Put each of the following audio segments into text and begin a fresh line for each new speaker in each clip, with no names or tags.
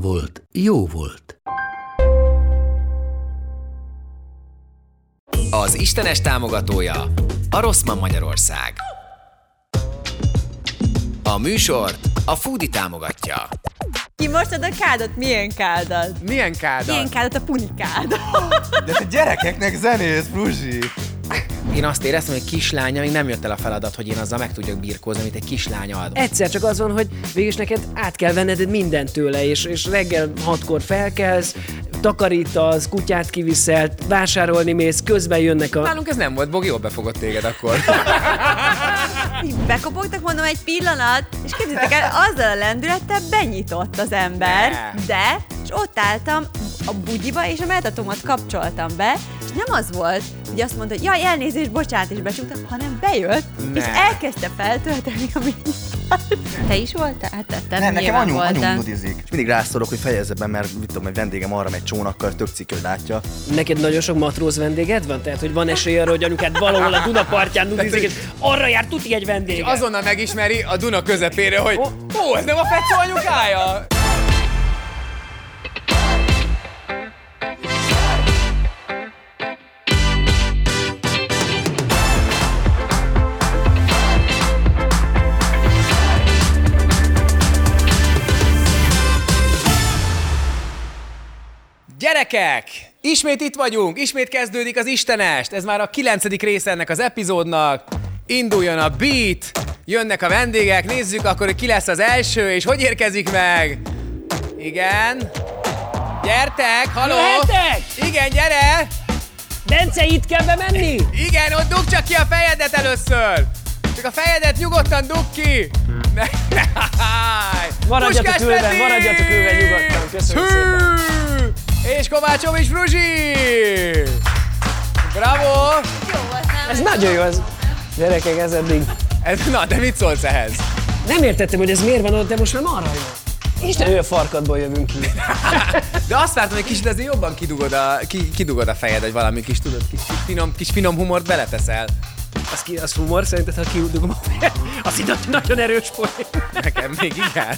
volt, jó volt.
Az Istenes támogatója a Rosszman Magyarország. A műsort a Foodi támogatja.
Kimostad a kádat? Milyen kádat?
Milyen kádat?
Milyen kádat? A punikád.
De te gyerekeknek zenész, Fruzsi!
Én azt éreztem, hogy kislánya még nem jött el a feladat, hogy én azzal meg tudjak birkózni, amit egy kislánya ad.
Egyszer csak az van, hogy végülis neked át kell venned mindent tőle, és, és reggel hatkor felkelsz, takarítasz, kutyát kiviszel, vásárolni mész, közben jönnek a...
Nálunk ez nem volt, Bogi, jól befogott téged akkor.
Így Bekopogtak, mondom, egy pillanat, és képzeljétek el, azzal a lendülettel benyitott az ember,
Ne.
de, és ott álltam a bugyiba, és a melltatomat kapcsoltam be, és nem az volt, hogy azt mondta, hogy jaj, elnézést, bocsánat, és becsuktam, hanem bejött,
Ne.
és elkezdte feltölteni a minisztát. Te is voltál? Hát te, te
Nem, nekem
nyilván
anyu, anyu
voltál.
nudizik. És mindig rászorok, hogy fejezze be, mert mit tudom, egy vendégem arra megy csónakkal, tök cikk, hogy látja.
Neked nagyon sok matróz vendéged van? Tehát, hogy van esély arra, hogy anyukád valahol a Duna partján nudizik, és arra jár tuti egy vendég.
Azonnal megismeri a Duna közepére, hogy ó, ez nem a Fecó anyukája! Gyerekek! Ismét itt vagyunk, ismét kezdődik az Istenest. Ez már a kilencedik része ennek az epizódnak. Induljon a beat, jönnek a vendégek, nézzük akkor, hogy ki lesz az első, és hogy érkezik meg. Igen. Gyertek, haló!
Jöhetek?
Igen, gyere!
Bence, itt kell bemenni?
Igen, ott dugd csak ki a fejedet először! Csak a fejedet nyugodtan dugd ki! Ne, ne, állj!
Maradjatok
Puskás
ülve,
Peti!
maradjatok ülve nyugodtan, köszönöm
Hű! És Kovácsovics Fruzsi! Bravo!
Ez nagyon jó, ez. Gyerekek, ez eddig.
Ez, na, de mit szólsz ehhez?
Nem értettem, hogy ez miért van ott, de most már arra jó. Isten, ő a farkadból jövünk ki.
De azt vártam, hogy kicsit azért jobban kidugod a, ki, kidugod a fejed, hogy valami kis, tudod, kis, kis, finom, kis finom humort beleteszel.
Az, ki, az humor, szerinted, ha kiúdugom a fejet, az itt nagyon erős poén.
Nekem még igen.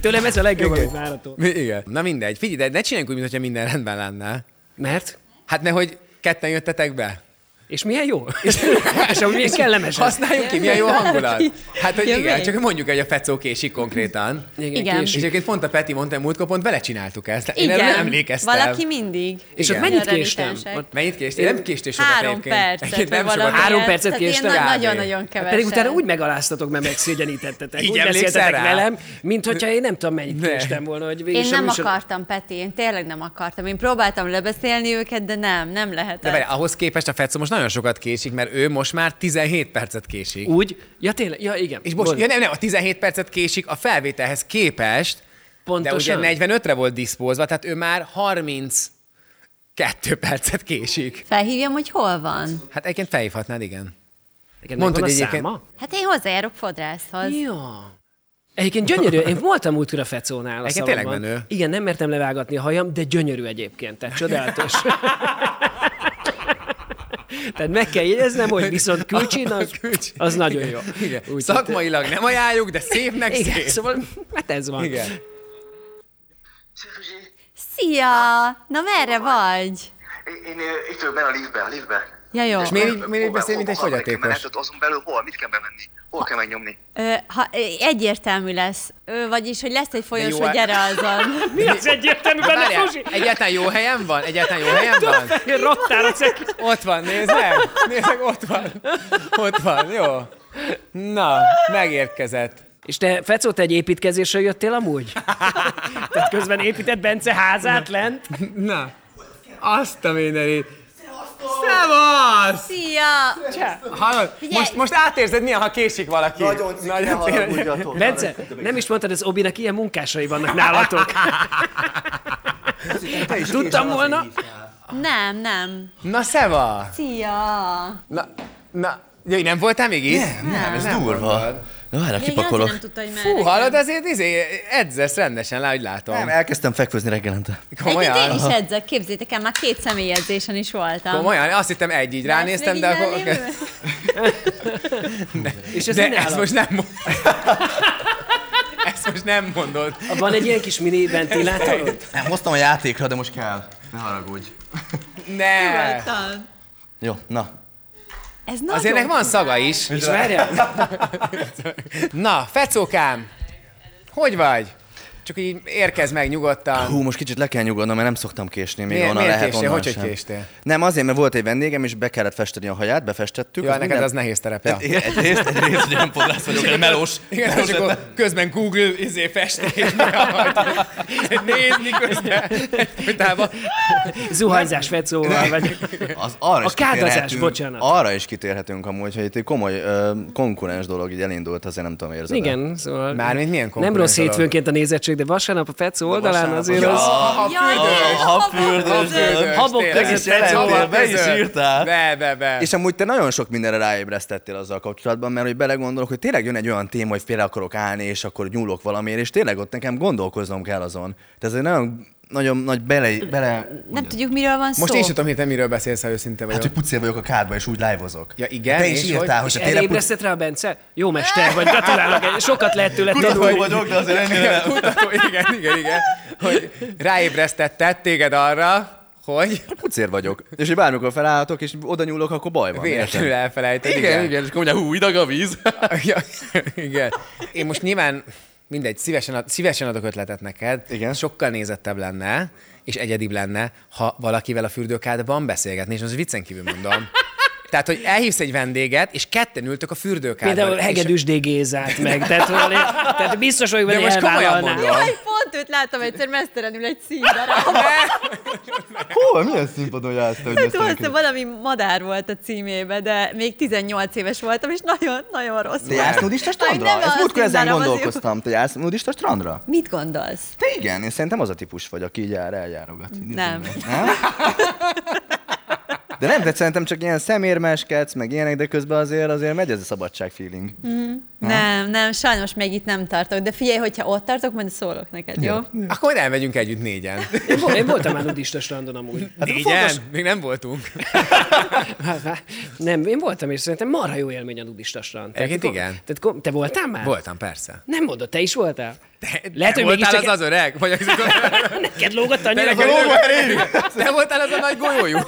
Tőlem ez a legjobb,
Igen.
amit várható.
Mi, igen. Na mindegy, figyelj, de ne csináljunk úgy, mintha minden rendben lenne.
Mert?
Hát nehogy ketten jöttetek be.
És milyen jó? És amúgy milyen kellemes. ez.
Használjuk ki, milyen jó hangulat. Hát, hogy
Jön
igen,
még.
csak mondjuk egy a fecó késik konkrétan.
Igen.
késik.
És egyébként pont a Peti mondta, múltkor pont vele csináltuk ezt. Én erre nem emlékeztem.
valaki mindig.
És ott
Igen.
mennyit
Ilyen
késtem?
renitensek.
Ott-
Mennyit késtél? Én nem késtél sokat
Három
egyébként.
percet,
Egyébként
vagy
nem sokat.
valami.
Három percet
Tehát ilyen
késtem?
nagy-
Kb.
Nagyon-nagyon kevesen.
Hát Pedig utána úgy megaláztatok, mert megszégyenítettetek.
Így
Úgy
emlékszel
beszéltetek
rá?
velem, mint hogyha én nem tudom, mennyit
Ne.
késtem volna, hogy végig
Én nem akartam, Peti, én tényleg nem akartam. Én próbáltam lebeszélni őket, de nem, nem lehetett.
De várj, ahhoz képest a Fecó most nagyon sokat késik, mert ő most már 17 percet késik.
Úgy? Ja tényleg? Ja igen.
És most,
Volt.
ja nem, nem, a 17 percet késik a felvételhez képest,
Pontosan.
de ugye 45-re volt diszpózva, tehát ő már 32 percet késik.
Felhívjam, hogy hol van?
Hát egyébként felhívhatnád, igen.
Neked
Mondtad,
megvan a
hogy egyébként-
száma?
Hát én hozzájárok fodrászhoz.
Ja. Egyébként gyönyörű, én voltam múltkor a fecónál a
Egyébként
szalomban.
tényleg menő.
Igen, nem mertem levágatni a hajam, de gyönyörű egyébként, tehát csodálatos. tehát meg kell jegyeznem, hogy viszont külcsin az,
Külcsin.
az nagyon jó.
Igen.
Úgy,
Szakmailag nem ajánljuk, de szépnek
tehát- Igen,
szép.
szóval hát ez van.
Igen.
Szia! Na merre vagy?
Én, én ö, itt ülök benne a liftben, a liftben.
Ja, jó.
És miért így, miért így beszél, mint egy
Hol van a
fogyatékos?
menetet, azon belül hol, mit kell bemenni? Hol kell megnyomni?
Ö, ha, ö, egyértelmű lesz. Ö, vagyis, hogy lesz egy folyosó,
jó, hát-
gyere azon.
Mi az egyértelmű benne,
Várjál,
Fruzsi?
egyáltalán jó helyen van? Egyáltalán jó helyen van?
Egy raktár a ceki.
Ott van, nézd meg! Nézd meg, ott van. Ott van, jó. Na, megérkezett.
És te, Fecó, te egy építkezésre jöttél amúgy? Tehát közben épített Bence házát lent?
Na, azt a mindenit. Szevasz!
Szia!
Hallod, most, most átérzed milyen, ha késik valaki.
Nagyon ciki, ne haragudjatok.
Bence, nem is mondtad az Obinak, ilyen munkásai vannak nálatok. Tudtam volna.
Nem, nem.
Na, szeva!
Szia!
Na, na, jaj, nem voltál még itt?
Nem, ez durva. Na, várj,
Még Laci
kipakolok.
nem tudta, hogy merre.
Hú, hallod, azért izé, edzesz rendesen, lá, hogy látom.
Nem, elkezdtem fekvőzni reggelente.
Egyébként
komolyan.
én is edzek, képzétek el, már két személyedzésen is voltam.
Komolyan, azt hittem egy így ránéztem, de
Ezt
akkor...
még így elnézem?
És ez
De ezt
de
most nem mondod. Ezt most nem mondod.
Van egy ilyen kis mini ventilátorod?
Nem, hoztam a játékra, de most kell. Ne haragudj.
Ne!
Tudtam.
Jó, na.
Ez hát nagyon...
Azért ennek van szaga is.
És várjál,
Na, fecókám! Hogy vagy? Csak így érkezz meg nyugodtan.
Hú, most kicsit le kell nyugodnom, mert nem szoktam késni, még
Miért-
onnan
miért
lehet
késtél?
onnan
Hogy, hogy
sem.
késtél?
Nem, azért, mert volt egy vendégem, és be kellett festeni a haját, befestettük.
Jó, hát neked az nehéz terep. Ja.
Igen, Egyrészt, egyrészt, hogy nem podrász vagyok, hanem melós.
Igen, és akkor közben Google izé festés, nézni közben, utána.
zuhanyzás fecóval vagy.
Az arra
A
is
kádazás,
kitérhetünk-
bocsánat.
Arra is kitérhetünk amúgy, hogy itt egy komoly ö, konkurens dolog így elindult, azért nem tudom, érzed
Igen, szóval...
Mármint milyen
Nem
konkurens
rossz
dolog?
hétfőnként a nézettség, de vasárnap a fecó oldalán
vasárnap
azért
az-
az...
Jaj, igen,
A fürdős
habozó.
dolog.
Habok
tényleg.
között
Tényleg,
jelentél,
habok
be is
között.
írtál.
Be, be, be.
És amúgy te nagyon sok mindenre ráébresztettél azzal kapcsolatban, mert hogy belegondolok, hogy tényleg jön egy olyan téma, hogy félre akarok állni, és akkor nyúlok valamiért, és tényleg ott nekem gondolkoznom kell azon. Tehát ez egy nagyon, nagyon nagy bele... bele...
Nem tudjuk, miről van
Most
szó.
én sem tudom hirtelen, miről beszélsz, ha őszinte
Szóval- Hát,
vagyok.
hogy pucél vagyok a kádba, és úgy live-ozok.
Ja, igen,
Te is
és
írtál,
hogy-
hogy, hogy
Erre
tényleg pucél
ébresztett rá a Bence? Jó mester vagy, gratulálok, sokat lehet tőle tanulni.
vagyok, de azért ennyire
Igen, kutató, igen, igen, igen, hogy ráébresztetted téged arra, hogy
Hát pucér vagyok. És hogy bármikor felállhatok, és oda nyúlok, akkor baj van.
véletlenül
érted?
elfelejted.
Igen, igen, és akkor mondja, hú, idag a víz.
Ja, igen. Én most nyilván mindegy, szívesen, ad, szívesen adok ötletet neked.
Igen.
Sokkal nézettebb lenne, és egyedibb lenne, ha valakivel a fürdőkádban beszélgetni, és most viccen kívül mondom. Tehát, hogy elhívsz egy vendéget, és ketten ültök a fürdőkádban.
Például
és-
Hegedűs D. Gézát meg, tehát, hogy- tehát biztos vagyok benne,
De most komolyan
elvállalná.
mondom.
Jaj, pont őt láttam egyszer mesztelenül egy színdarab.
Hol? Milyen színpadon jársz, hogy ezt
Tudod, valami madár volt a címébe, de még 18 éves voltam, és nagyon-nagyon rossz
Te
volt.
jársz nudista strandra?
nem
Ezt
a
múltkor ezen
színdarab, az jó.
gondolkoztam. Te jársz nudista strandra?
Mit gondolsz?
Te igen, én szerintem az a típus vagy, aki így jár, eljárogat. Így
Nem.
nézem meg. Nem? De nem, de szerintem csak ilyen szemérmeskedsz, meg ilyenek, de közben azért, azért megy ez a szabadság feeling.
Mm. Nem, nem, sajnos még itt nem tartok, de figyelj, hogyha ott tartok, majd szólok neked, jó?
Akkor majd elmegyünk együtt négyen.
Én vol- Én voltam már nudista strandon
Hát
amúgy.
Négyen? Még nem voltunk.
Nem, én voltam, és szerintem marha jó élmény a nudista strand. Tehát
Egyébként
ko-
igen.
Tehát, ko- te voltál már?
Voltam, persze.
Nem mondod, te is voltál?
Te,
Lehet,
te
hogy mégis
voltál az
csak-
az öreg? Vagy az,
Neked lógott annyira,
te,
hogy...
neked, te voltál az a nagy golyójú?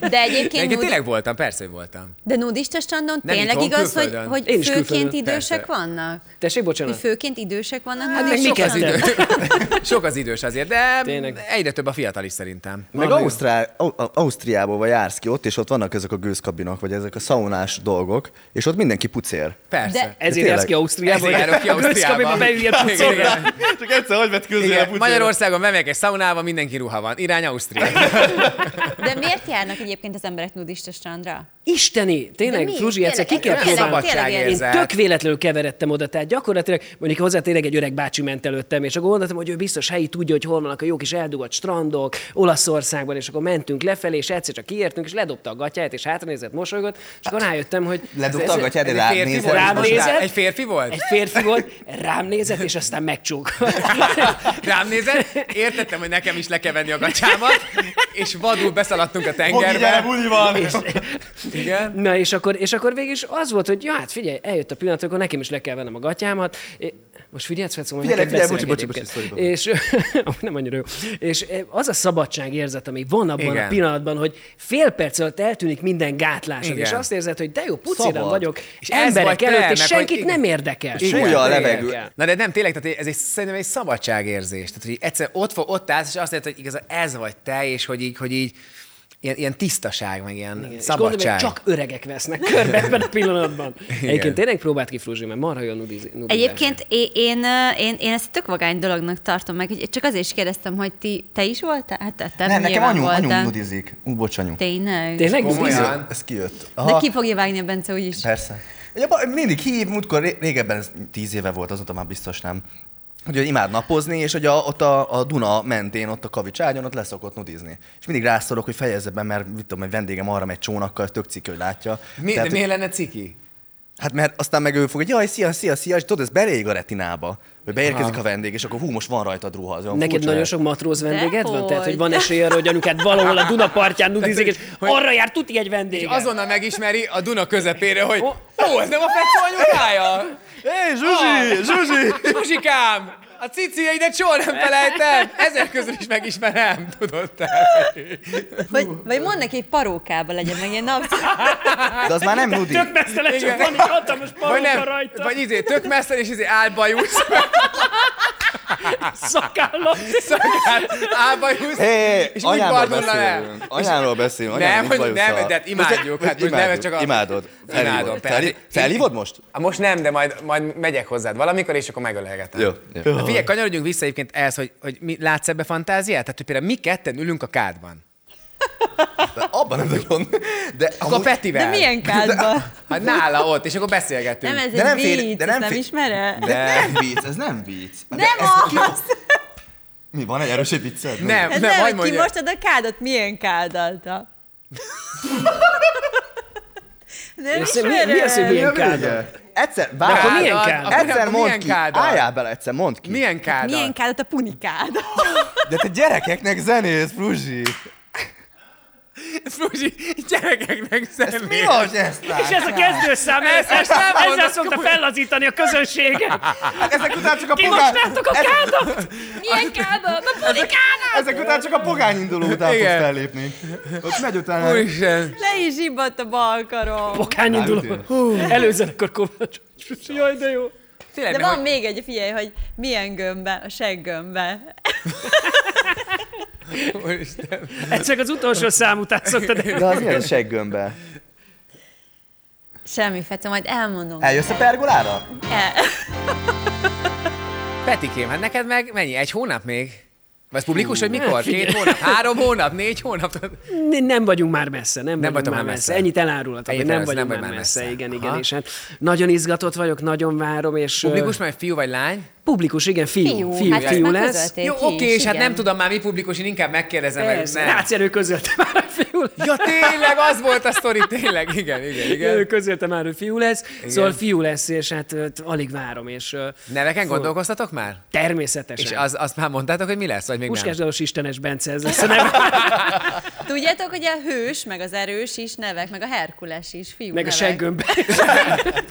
De egyébként,
Egyébként
nudi-
tényleg voltam, persze, hogy voltam.
de nudista strandon
Nem
tényleg
itthon,
igaz, hogy,
külföldön.
hogy
Én is
főként
külföldön,
idősek
persze.
vannak?
Tessék,
Hogy
bocsánat.
főként idősek vannak? Hát
meg mi
az
kezdte?
idő. Sok az idős azért, de
Tényleg.
egyre több a fiatal is szerintem.
Meg
Marha jó.
Ausztrál, Au- Au- Ausztriából vagy jársz ki ott, és ott vannak ezek a gőzkabinok, vagy ezek a szaunás dolgok, és ott mindenki pucér.
Persze.
De-
Ezért
Tényleg.
jársz ki Ausztriába,
Ezért járok ki
a gőzkabiba
Ausztriába.
beüljél
Igen,
pucolra.
igen.
Csak egyszer, hogy vett közé
Igen, Magyarországon bemegyek egy szaunába, mindenki ruha van. Irány Ausztria.
De miért járnak egyébként az emberek nudista strandra?
Isteni, tényleg,
mi?
Fruzsi, egyszer ki kell
Tényleg,
Tényleg,
próbálni. Én
szabadságérzet.
tök véletlenül keveredtem oda, tehát gyakorlatilag mondjuk hozzá tényleg egy öreg bácsi ment előttem, és akkor gondoltam, hogy ő biztos helyi tudja, hogy hol vannak a jó kis eldugott strandok, Olaszországban, és akkor mentünk lefelé, és egyszer csak kiértünk, és ledobta a gatyáját, és hátranézett, mosolygott, és akkor rájöttem, hogy
Ledobta a gatyád, de
Egy férfi
ránézel,
volt?
és
Rám
most-
néz. nézett.
Egy férfi volt?
egy férfi volt, rám nézett, és aztán megcsókolt.
Rám nézett, értettem, hogy nekem is le kell venni a gacsámat, és vadul beszaladtunk a
Fogi, gyere,
tengerbe.
buli van!
Igen.
Na, és akkor, és akkor végig is az volt, hogy ja, hát figyelj, eljött a pillanat, akkor nekem is le kell vennem a gatyámat. É, Most figyelsz, Fecó, majd
Figyelek,
neked
figyelek,
beszélek
bocsi, bocsi,
egyébként.
bocsi,
És nem annyira jó. És eh, az a szabadságérzet, ami van abban Igen.
Igen.
a pillanatban, hogy fél perc alatt eltűnik minden gátlásod,
Igen.
és azt érzed, hogy de jó, puciran
Szabad.
vagyok, és
És ez vagy
emberek
te,
előtt, és
meg
senkit
hogy-
nem érdekel.
Hát
Súlya
Senkit
a
nem
levegő.
érdekel.
Na de nem, tényleg, tehát ez egy, szerintem egy szabadságérzés. Tehát, hogy egyszer ott, fo- ott állsz, és azt látod, hogy igazán ez vagy te, és hogy így, hogy így ilyen, ilyen tisztaság, meg ilyen Igen.
És gondolom,
szabadság.
hogy csak öregek vesznek körbe ebben a pillanatban. Egyébként tényleg próbált ki Fruzsi, mert marha jön nudiz, nudizás.
Egyébként én, én, ö, én, én ezt tök vagány dolognak tartom meg, hogy csak azért is kérdeztem, hogy ti, te is voltál? Hát te, te
Nem, nekem
nyilván
anyu, anyu
voltál.
nudizik. Ú, bocs, anyu.
Tényleg?
Tényleg nudiz?
Komolyan?
Ez- Ez kijött.
De ki fogja vágni a Bence úgyis?
Persze. Ja, ba- mindig hív, múltkor ré- régebben, ez tíz éve volt, azóta már biztos nem. Hogy ő imád napozni, és hogy a, ott a, a, Duna mentén, ott a kavicságyon, ott leszokott nudizni. És mindig rászorok, hogy fejezze be, mert mit tudom, egy vendégem arra megy csónakkal, tök cikk, hogy látja.
Mi,
Tehát,
Tehát, miért lenne ciki?
Hát mert aztán meg ő fog, hogy jaj, szia, szia, szia, és tudod, ez belég a retinába. Hogy beérkezik a vendég, és akkor hú, most van rajtad ruha. Az olyan
Neked
furcsa
nagyon
lehet.
sok matróz vendéged van?
Dehogy.
Tehát, hogy van esély arra, hogy anyukád valahol a Duna partján nudizik, és
hogy-
arra jár tuti egy vendég.
És azonnal megismeri a Duna közepére, hogy ó, ez nem a Fecó anyukája? Ah,
Hé, Zsuzsi, Zsuzsi!
Zsuzsikám! A cicieidet soha nem felejtem! Ezek közül is megismerem, tudod te.
Vagy, vagy mond neki, hogy parókába legyen meg ilyen nap.
De az már nem nudi.
Tök mesztelen, csak van egy hatalmas
Vagy
paróka
nem,
rajta.
vagy izé, tök messze, és izé álbajusz,
szakállat.
szakál, álbajusz,
Hé,
és úgy
anyámról
barnulna el.
beszélünk. Anyámról beszélünk.
Nem,
anyám nincs
hogy nem,
bajusza.
de hát imádjuk,
Most-
hát most
imádjuk,
nem, csak a-
Imádod.
Imádom,
Felhívod.
persze.
Felhív- Felhívod most?
Á, Most nem, de majd, majd megyek hozzád valamikor, és akkor megölelgetem.
Jó, jó.
Na Hát Figyelj, kanyarodjunk vissza egyébként ehhez, hogy, hogy mi, látsz ebbe fantáziát? Tehát, hogy például mi ketten ülünk a kádban.
De abban nem nagyon. De
Akkor a
amúgy-
Petivel.
De milyen kádba?
Hát nála ott, és akkor beszélgetünk.
Nem ez
de nem
egy
fér-
vicc,
de nem
ezt nem
fér-
ismered?
De nem vicc, ez nem vicc. De
Nem
ezt ki-
az!
Mi, van egy erősebb vicced?
Nem,
Ez
nem,
nem,
hagyd
hogy
mondja.
kimostad a kádat, milyen kádalta. Nem
Ez- Mi, mi az, hogy
ismered?
milyen kádal?
Egyszer,
De
várj,
akkor milyen
Kádal,
kádal?
akkor
egyszer
akkor
mondd
milyen
ki.
kádal?
Álljál bele, egyszer mondd ki.
Milyen kádal?
Hát Milyen kádat? A punikád.
De te gyerekeknek zenész, Fruzsi.
Fruzsi, gyerekeknek személy.
Mi az ezt
És ez a kezdőszám, ez, ez,
ezt nem
ezzel
mondod,
szokta fellazítani a közönséget.
Ezek után csak a
Ti most láttok a kádat?
Milyen kádat? A punikádat!
Ezek után csak a pogány induló után
Igen.
fogsz fellépni. Ott megy utána.
Úristen.
Le is zsibbott a bal karom.
Pokány induló. Előzzen akkor Kovács. Jaj, de jó.
Tényleg,
De
mert
van még egy, figyelj, hogy milyen gömbbe, a seggömbbe.
hogy- Úristen.
Ez csak az utolsó szám után szoktad el-
De az milyen seggömbbe?
Semmi fete, majd elmondom.
Eljössz a pergolára?
El.
Petikém, hát neked meg mennyi? Egy hónap még? Vagy ez publikus, hogy
hát
mikor? Két hónap? Három hónap? Négy hónap?
Ne- nem vagyunk már messze, nem, nem vagyunk
vagytok
már
már
messze.
messze.
Ennyit elárulhatok, hogy
Ennyit
nem
elárulsz,
vagyunk már messze. messze. Igen, igen,
Aha.
és hát nagyon izgatott vagyok, nagyon várom, és...
Publikus,
ö,
mert fiú vagy lány?
publikus igen, fiú.
Fiú,
Fiú, fiú,
hát ezt már
lesz.
közölték
Jó,
ki
oké,
is,
és hát
igen.
nem tudom már mi publikus, én inkább megkérdezem, mert
Persze, Hát-
nem.
Ráci Erő közölte már, hogy fiú lesz.
Ja, tényleg, az volt a sztori, tényleg, igen, igen,
Ő
igen.
közölte már, hogy fiú lesz. Igen. Szóval fiú lesz, és hát ö, t- alig várom, és ö, szóval
Neveken gondolkoztatok már?
természetesen.
És az, azt már mondtátok, hogy mi lesz, vagy még
Puskás
nem?
Dalos Istenes Bence, ez lesz a neve.
Tudjátok, hogy a hős, meg az erős is nevek, meg a Herkules is, fiú
Meg a
nevek.
seggömb.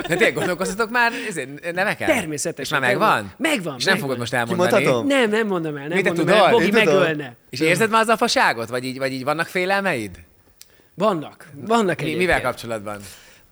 De tényleg gondolkoztatok már ezért, neveken?
Természetesen,
És már megvan?
megvan. Megvan,
És nem
megvan.
fogod most elmondani?
Kimondhatom?
Nem, nem mondom el, nem
Mi, te
mondom
tudod?
el. Bogi
Én tudom.
megölne.
És érzed már az a faságot? Vagy így, vagy így vannak félelmeid?
Vannak, vannak
Mi,
egyébként.
mivel kapcsolatban?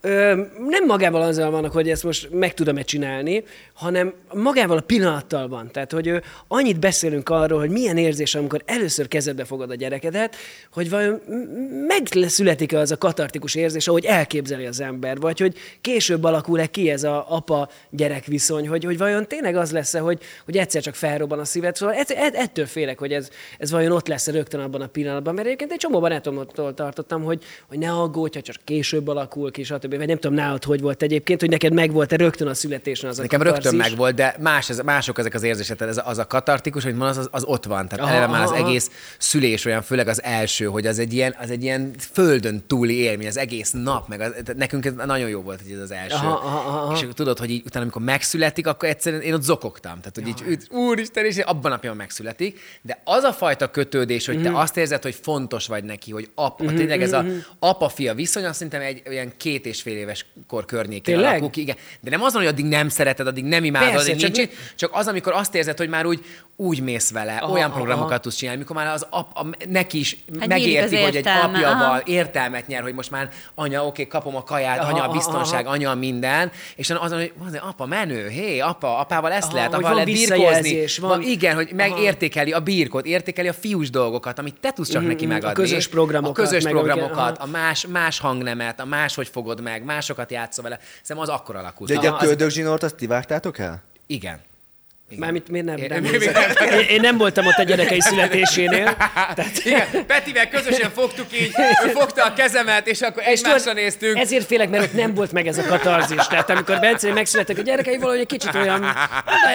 Ö, nem magával azzal vannak, hogy ezt most meg tudom-e csinálni, hanem magával a pillanattal van. Tehát, hogy ö, annyit beszélünk arról, hogy milyen érzés, amikor először kezedbe fogod a gyerekedet, hogy vajon m- megszületik-e az a katartikus érzés, ahogy elképzeli az ember, vagy hogy később alakul-e ki ez a apa-gyerek viszony, hogy, hogy vajon tényleg az lesz-e, hogy, hogy egyszer csak felrobban a szíved. Szóval ett, ett, ettől félek, hogy ez, ez vajon ott lesz rögtön abban a pillanatban, mert egyébként egy csomó barátomtól tartottam, hogy, hogy ne aggódj, ha csak később alakul ki, stb. Vagy nem tudom nálad, hogy volt egyébként, hogy neked megvolt-e rögtön a születésen az a
Nekem rögtön
katarzis.
megvolt, de más, ez, mások ezek az érzések. Tehát ez, a- az a katartikus, hogy mondasz, az, az ott van. Tehát
Aha,
eleve már az
aha, aha.
egész szülés olyan, főleg az első, hogy az egy ilyen, az egy ilyen földön túli élmény, az egész nap. Meg az, tehát nekünk ez nagyon jó volt, hogy ez az első.
Aha, aha, aha.
És akkor tudod, hogy így, utána, amikor megszületik, akkor egyszerűen én ott zokogtam. Tehát, hogy így, üt- úristen, és abban a napján megszületik. De az a fajta kötődés, hogy
Mhm.
te azt érzed, hogy fontos vagy neki, hogy apa, tényleg ez a apa-fia viszony, azt szerintem egy olyan két és és fél éves kor környékén
Tényleg?
alakul ki. Igen. De nem azon, hogy addig nem szereted, addig nem imádod,
Persze,
addig
csak
csak,
mi-
csak, csak az, amikor azt érzed, hogy már úgy úgy mész vele,
Aha,
aha, olyan
aha.
programokat tudsz csinálni, mikor már az ap, a, neki is
Hát
megérti,
nyílik az
hogy egy
értelme,
apja
aha.
van, értelmet nyer, hogy most már anya, oké, kapom a kaját,
Aha,
anya a
aha,
biztonság, anya a minden, és azon, hogy bazd, apa menő, hé, apa, apával ezt
Aha,
lehet,
hogy
apával
van
lehet birkózni.
visszajelzés, van-
Van... Igen, hogy
Aha.
megérti értékeli a birkot, értékeli a fiús dolgokat, amit te tudsz csak neki
mm, a
megadni.
közös programokat,
A közös
meg amiket-
programokat,
aha.
a más, más hangnemet, a más, hogy fogod meg, másokat játszol vele. Szerintem az akkor alakul.
De egy
Aha,
a
az-
köldögzsinort azt ti vágtátok el?
Igen.
Mármint miért nem?
Én-
nem
mi-
nézek? én, én nem voltam ott a gyerekei születésénél.
Tehát... Igen, Petivel közösen fogtuk így, ő fogta a kezemet, és akkor egymásra
tudod,
néztünk.
Ezért félek, mert ott nem volt meg ez a katarzis. Tehát amikor Bence megszülettek a gyerekei, valahogy egy kicsit olyan, hát,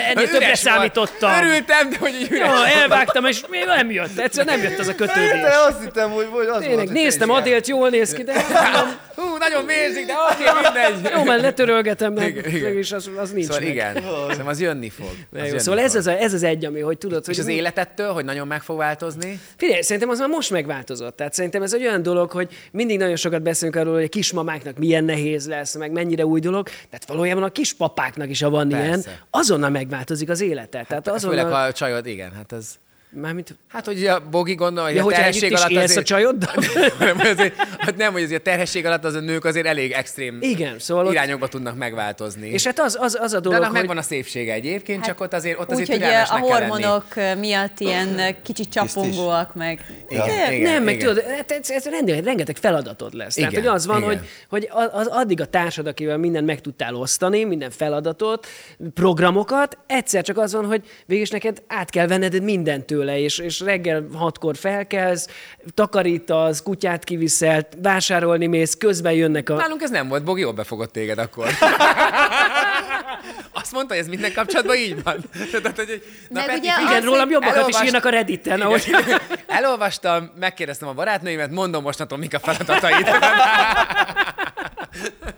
ennél
Üres
többre
volt.
számítottam.
Örültem, de hogy így üres
Jó,
volt.
elvágtam, és még nem jött. Egyszerűen nem jött az a kötődés.
De azt hittem, hogy, hogy az
Tényleg,
volt, hogy
néztem,
tényleg.
Adélt jól néz ki, de mondom,
Hú, nagyon mérzik, de oké, mindegy.
jó, mert letörölgetem, mert
Igen, igen.
mégis az, az nincs
Szóval
meg.
igen, szerintem az jönni fog. Az
Jó,
jönni
szóval ez
fog.
az, a, ez az egy, ami, hogy tudod, hogy...
És az életettől, hogy nagyon meg fog változni? Hát
Figyelj, szerintem az már most megváltozott. Tehát szerintem ez egy olyan dolog, hogy mindig nagyon sokat beszélünk arról, hogy a kismamáknak milyen nehéz lesz, meg mennyire új dolog. Tehát valójában a kispapáknak is, ha van
Persze. Hát,
ilyen, azonnal megváltozik az élete. Tehát
Főleg
azonnal...
a csajod, igen, hát ez...
Mármint...
Hát, hogy a Bogi gondol, hogy
Ja,
a
hogyha
terhesség
együtt is
alatt
élsz a csajoddal?
Nem, azért, hát nem, hogy azért a terhesség alatt az a nők azért elég extrém
Igen, szóval ott-
irányokba tudnak megváltozni.
És hát az, az, az a
de
dolog,
annak
hogy...
megvan a szépsége egyébként, csak ott azért, ott azért
Úgyhogy eh, a
türelmesnek kell lenni.
hormonok eh, miatt ilyen eh, kicsit csapongóak, meg
Igen.
Nem,
Igen,
nem, meg
igen.
tudod, hát ez, ez rendben, rengeteg feladatod lesz. Igen, Tehát,
Igen,
hogy az van,
igen.
hogy, hogy a- az addig a társad, akivel mindent meg tudtál osztani, minden feladatot, programokat, egyszer csak az van, hogy végig neked át kell venned mindent tőle, és, és reggel hatkor felkelsz, takarítasz, kutyát kiviszel, vásárolni mész, közben jönnek a...
Nálunk ez nem volt, Bogi, jól befogott téged akkor. Azt mondta, hogy ez minden kapcsolatban így van. Tehát, hogy, egy- na,
Meg
Peti,
ugye
Igen,
az,
rólam
hogy
jobbakat
elolvast-
is írnak a Redditen, ahogy...
Igen. Elolvastam, megkérdeztem a barátnőimet, mondom mostantól, mik a feladataid.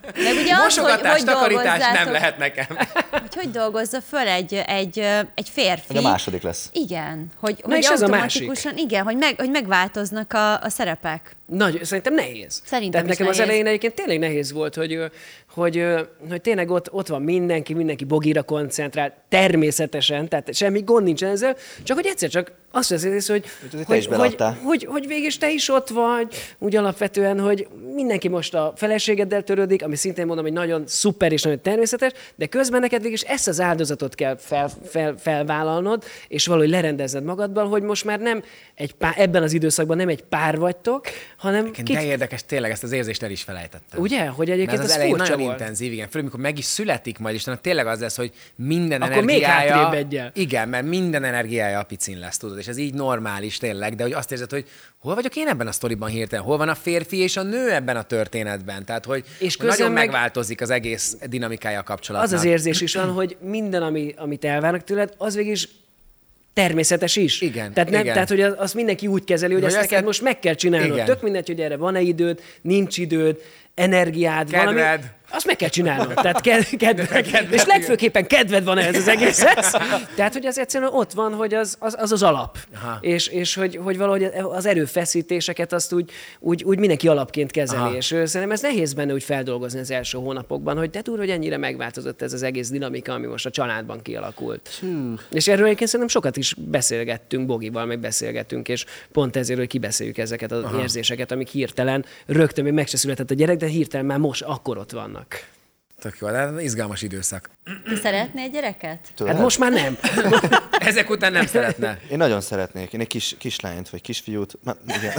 Meg ugye az, hogy,
Mosogatás,
hogy
takarítás
dolgozzátok-
nem lehet nekem.
Hogy, hogy dolgozza föl egy, egy, egy férfi.
Hogy a második lesz.
Igen, hogy,
Na
hogy
és ez a másik.
automatikusan, igen, hogy, meg, hogy megváltoznak a, a szerepek.
Nagy, szerintem nehéz.
Szerintem
Tehát
is
nekem az
nehéz.
elején egyébként tényleg nehéz volt, hogy, ö, hogy, ö, hogy tényleg ott, ott van mindenki, mindenki bogira koncentrál, természetesen, tehát semmi gond nincsen ezzel, csak hogy egyszer csak azt veszed észre, hogy,
azért te
hogy,
is
hogy,
beleadtál.
hogy, hogy végig te is ott vagy, úgy alapvetően, hogy mindenki most a feleségeddel törődik, ami szintén mondom, hogy nagyon szuper és nagyon természetes, de közben neked végig ezt az áldozatot kell fel, fel, felvállalnod, és valahogy lerendezned magadban, hogy most már nem egy pár, ebben az időszakban nem egy pár vagytok, hanem
De érdekes, tényleg ezt az érzést el is felejtettem.
Ugye? Hogy egyébként
Mert az,
az
az elején
furcsa
nagyon
volt.
intenzív, igen. Főleg, amikor meg is születik majd, és utána tényleg az lesz, hogy minden
Akkor még
energiája...
hátrébb egyel.
Igen, mert minden energiája a picin lesz, tudod, és ez így normális tényleg, de hogy azt érzed, hogy hol vagyok én ebben a sztoriban hirtelen, hol van a férfi és a nő ebben a történetben, tehát hogy hogy
És
nagyon
közben meg-
megváltozik az egész dinamikája a kapcsolatnak.
az az érzés is van, hogy minden, ami, amit elvárnak tőled, az végig is természetes is.
Igen,
Tehát, nem,
igen.
tehát hogy az- azt mindenki úgy kezeli, hogy,
Hogy
ezt
azt
neked
nem-
most meg kell csinálnod.
Igen.
Tök mindegy, hogy erre van-e időd, nincs időd, energiád, valami.
Kedved.
Azt meg kell csinálnod. Tehát ked, kedved,
kedved,
és
igen.
legfőképpen kedved van ez az egészhez. Tehát, hogy az egyszerűen ott van, hogy az az, az, az alap.
Aha.
És, és hogy, hogy valahogy az erőfeszítéseket azt úgy, úgy, úgy mindenki alapként kezeli.
Aha.
És ö, szerintem ez nehéz benne úgy feldolgozni az első hónapokban, hogy de túl, hogy ennyire megváltozott ez az egész dinamika, ami most a családban kialakult. És erről egyébként szerintem sokat is beszélgettünk Bogival, meg beszélgetünk, és pont ezért, hogy kibeszéljük ezeket az érzéseket, amik hirtelen, rögtön még meg se született a gyerek, de hirtelen már most akkor ott vannak. Hát
Tök jó, de izgalmas időszak.
Te szeretnél gyereket?
Hát most már nem.
Ezek után nem szeretne.
Én nagyon szeretnék. Én egy kis, kislányt vagy kisfiút. Már, igen.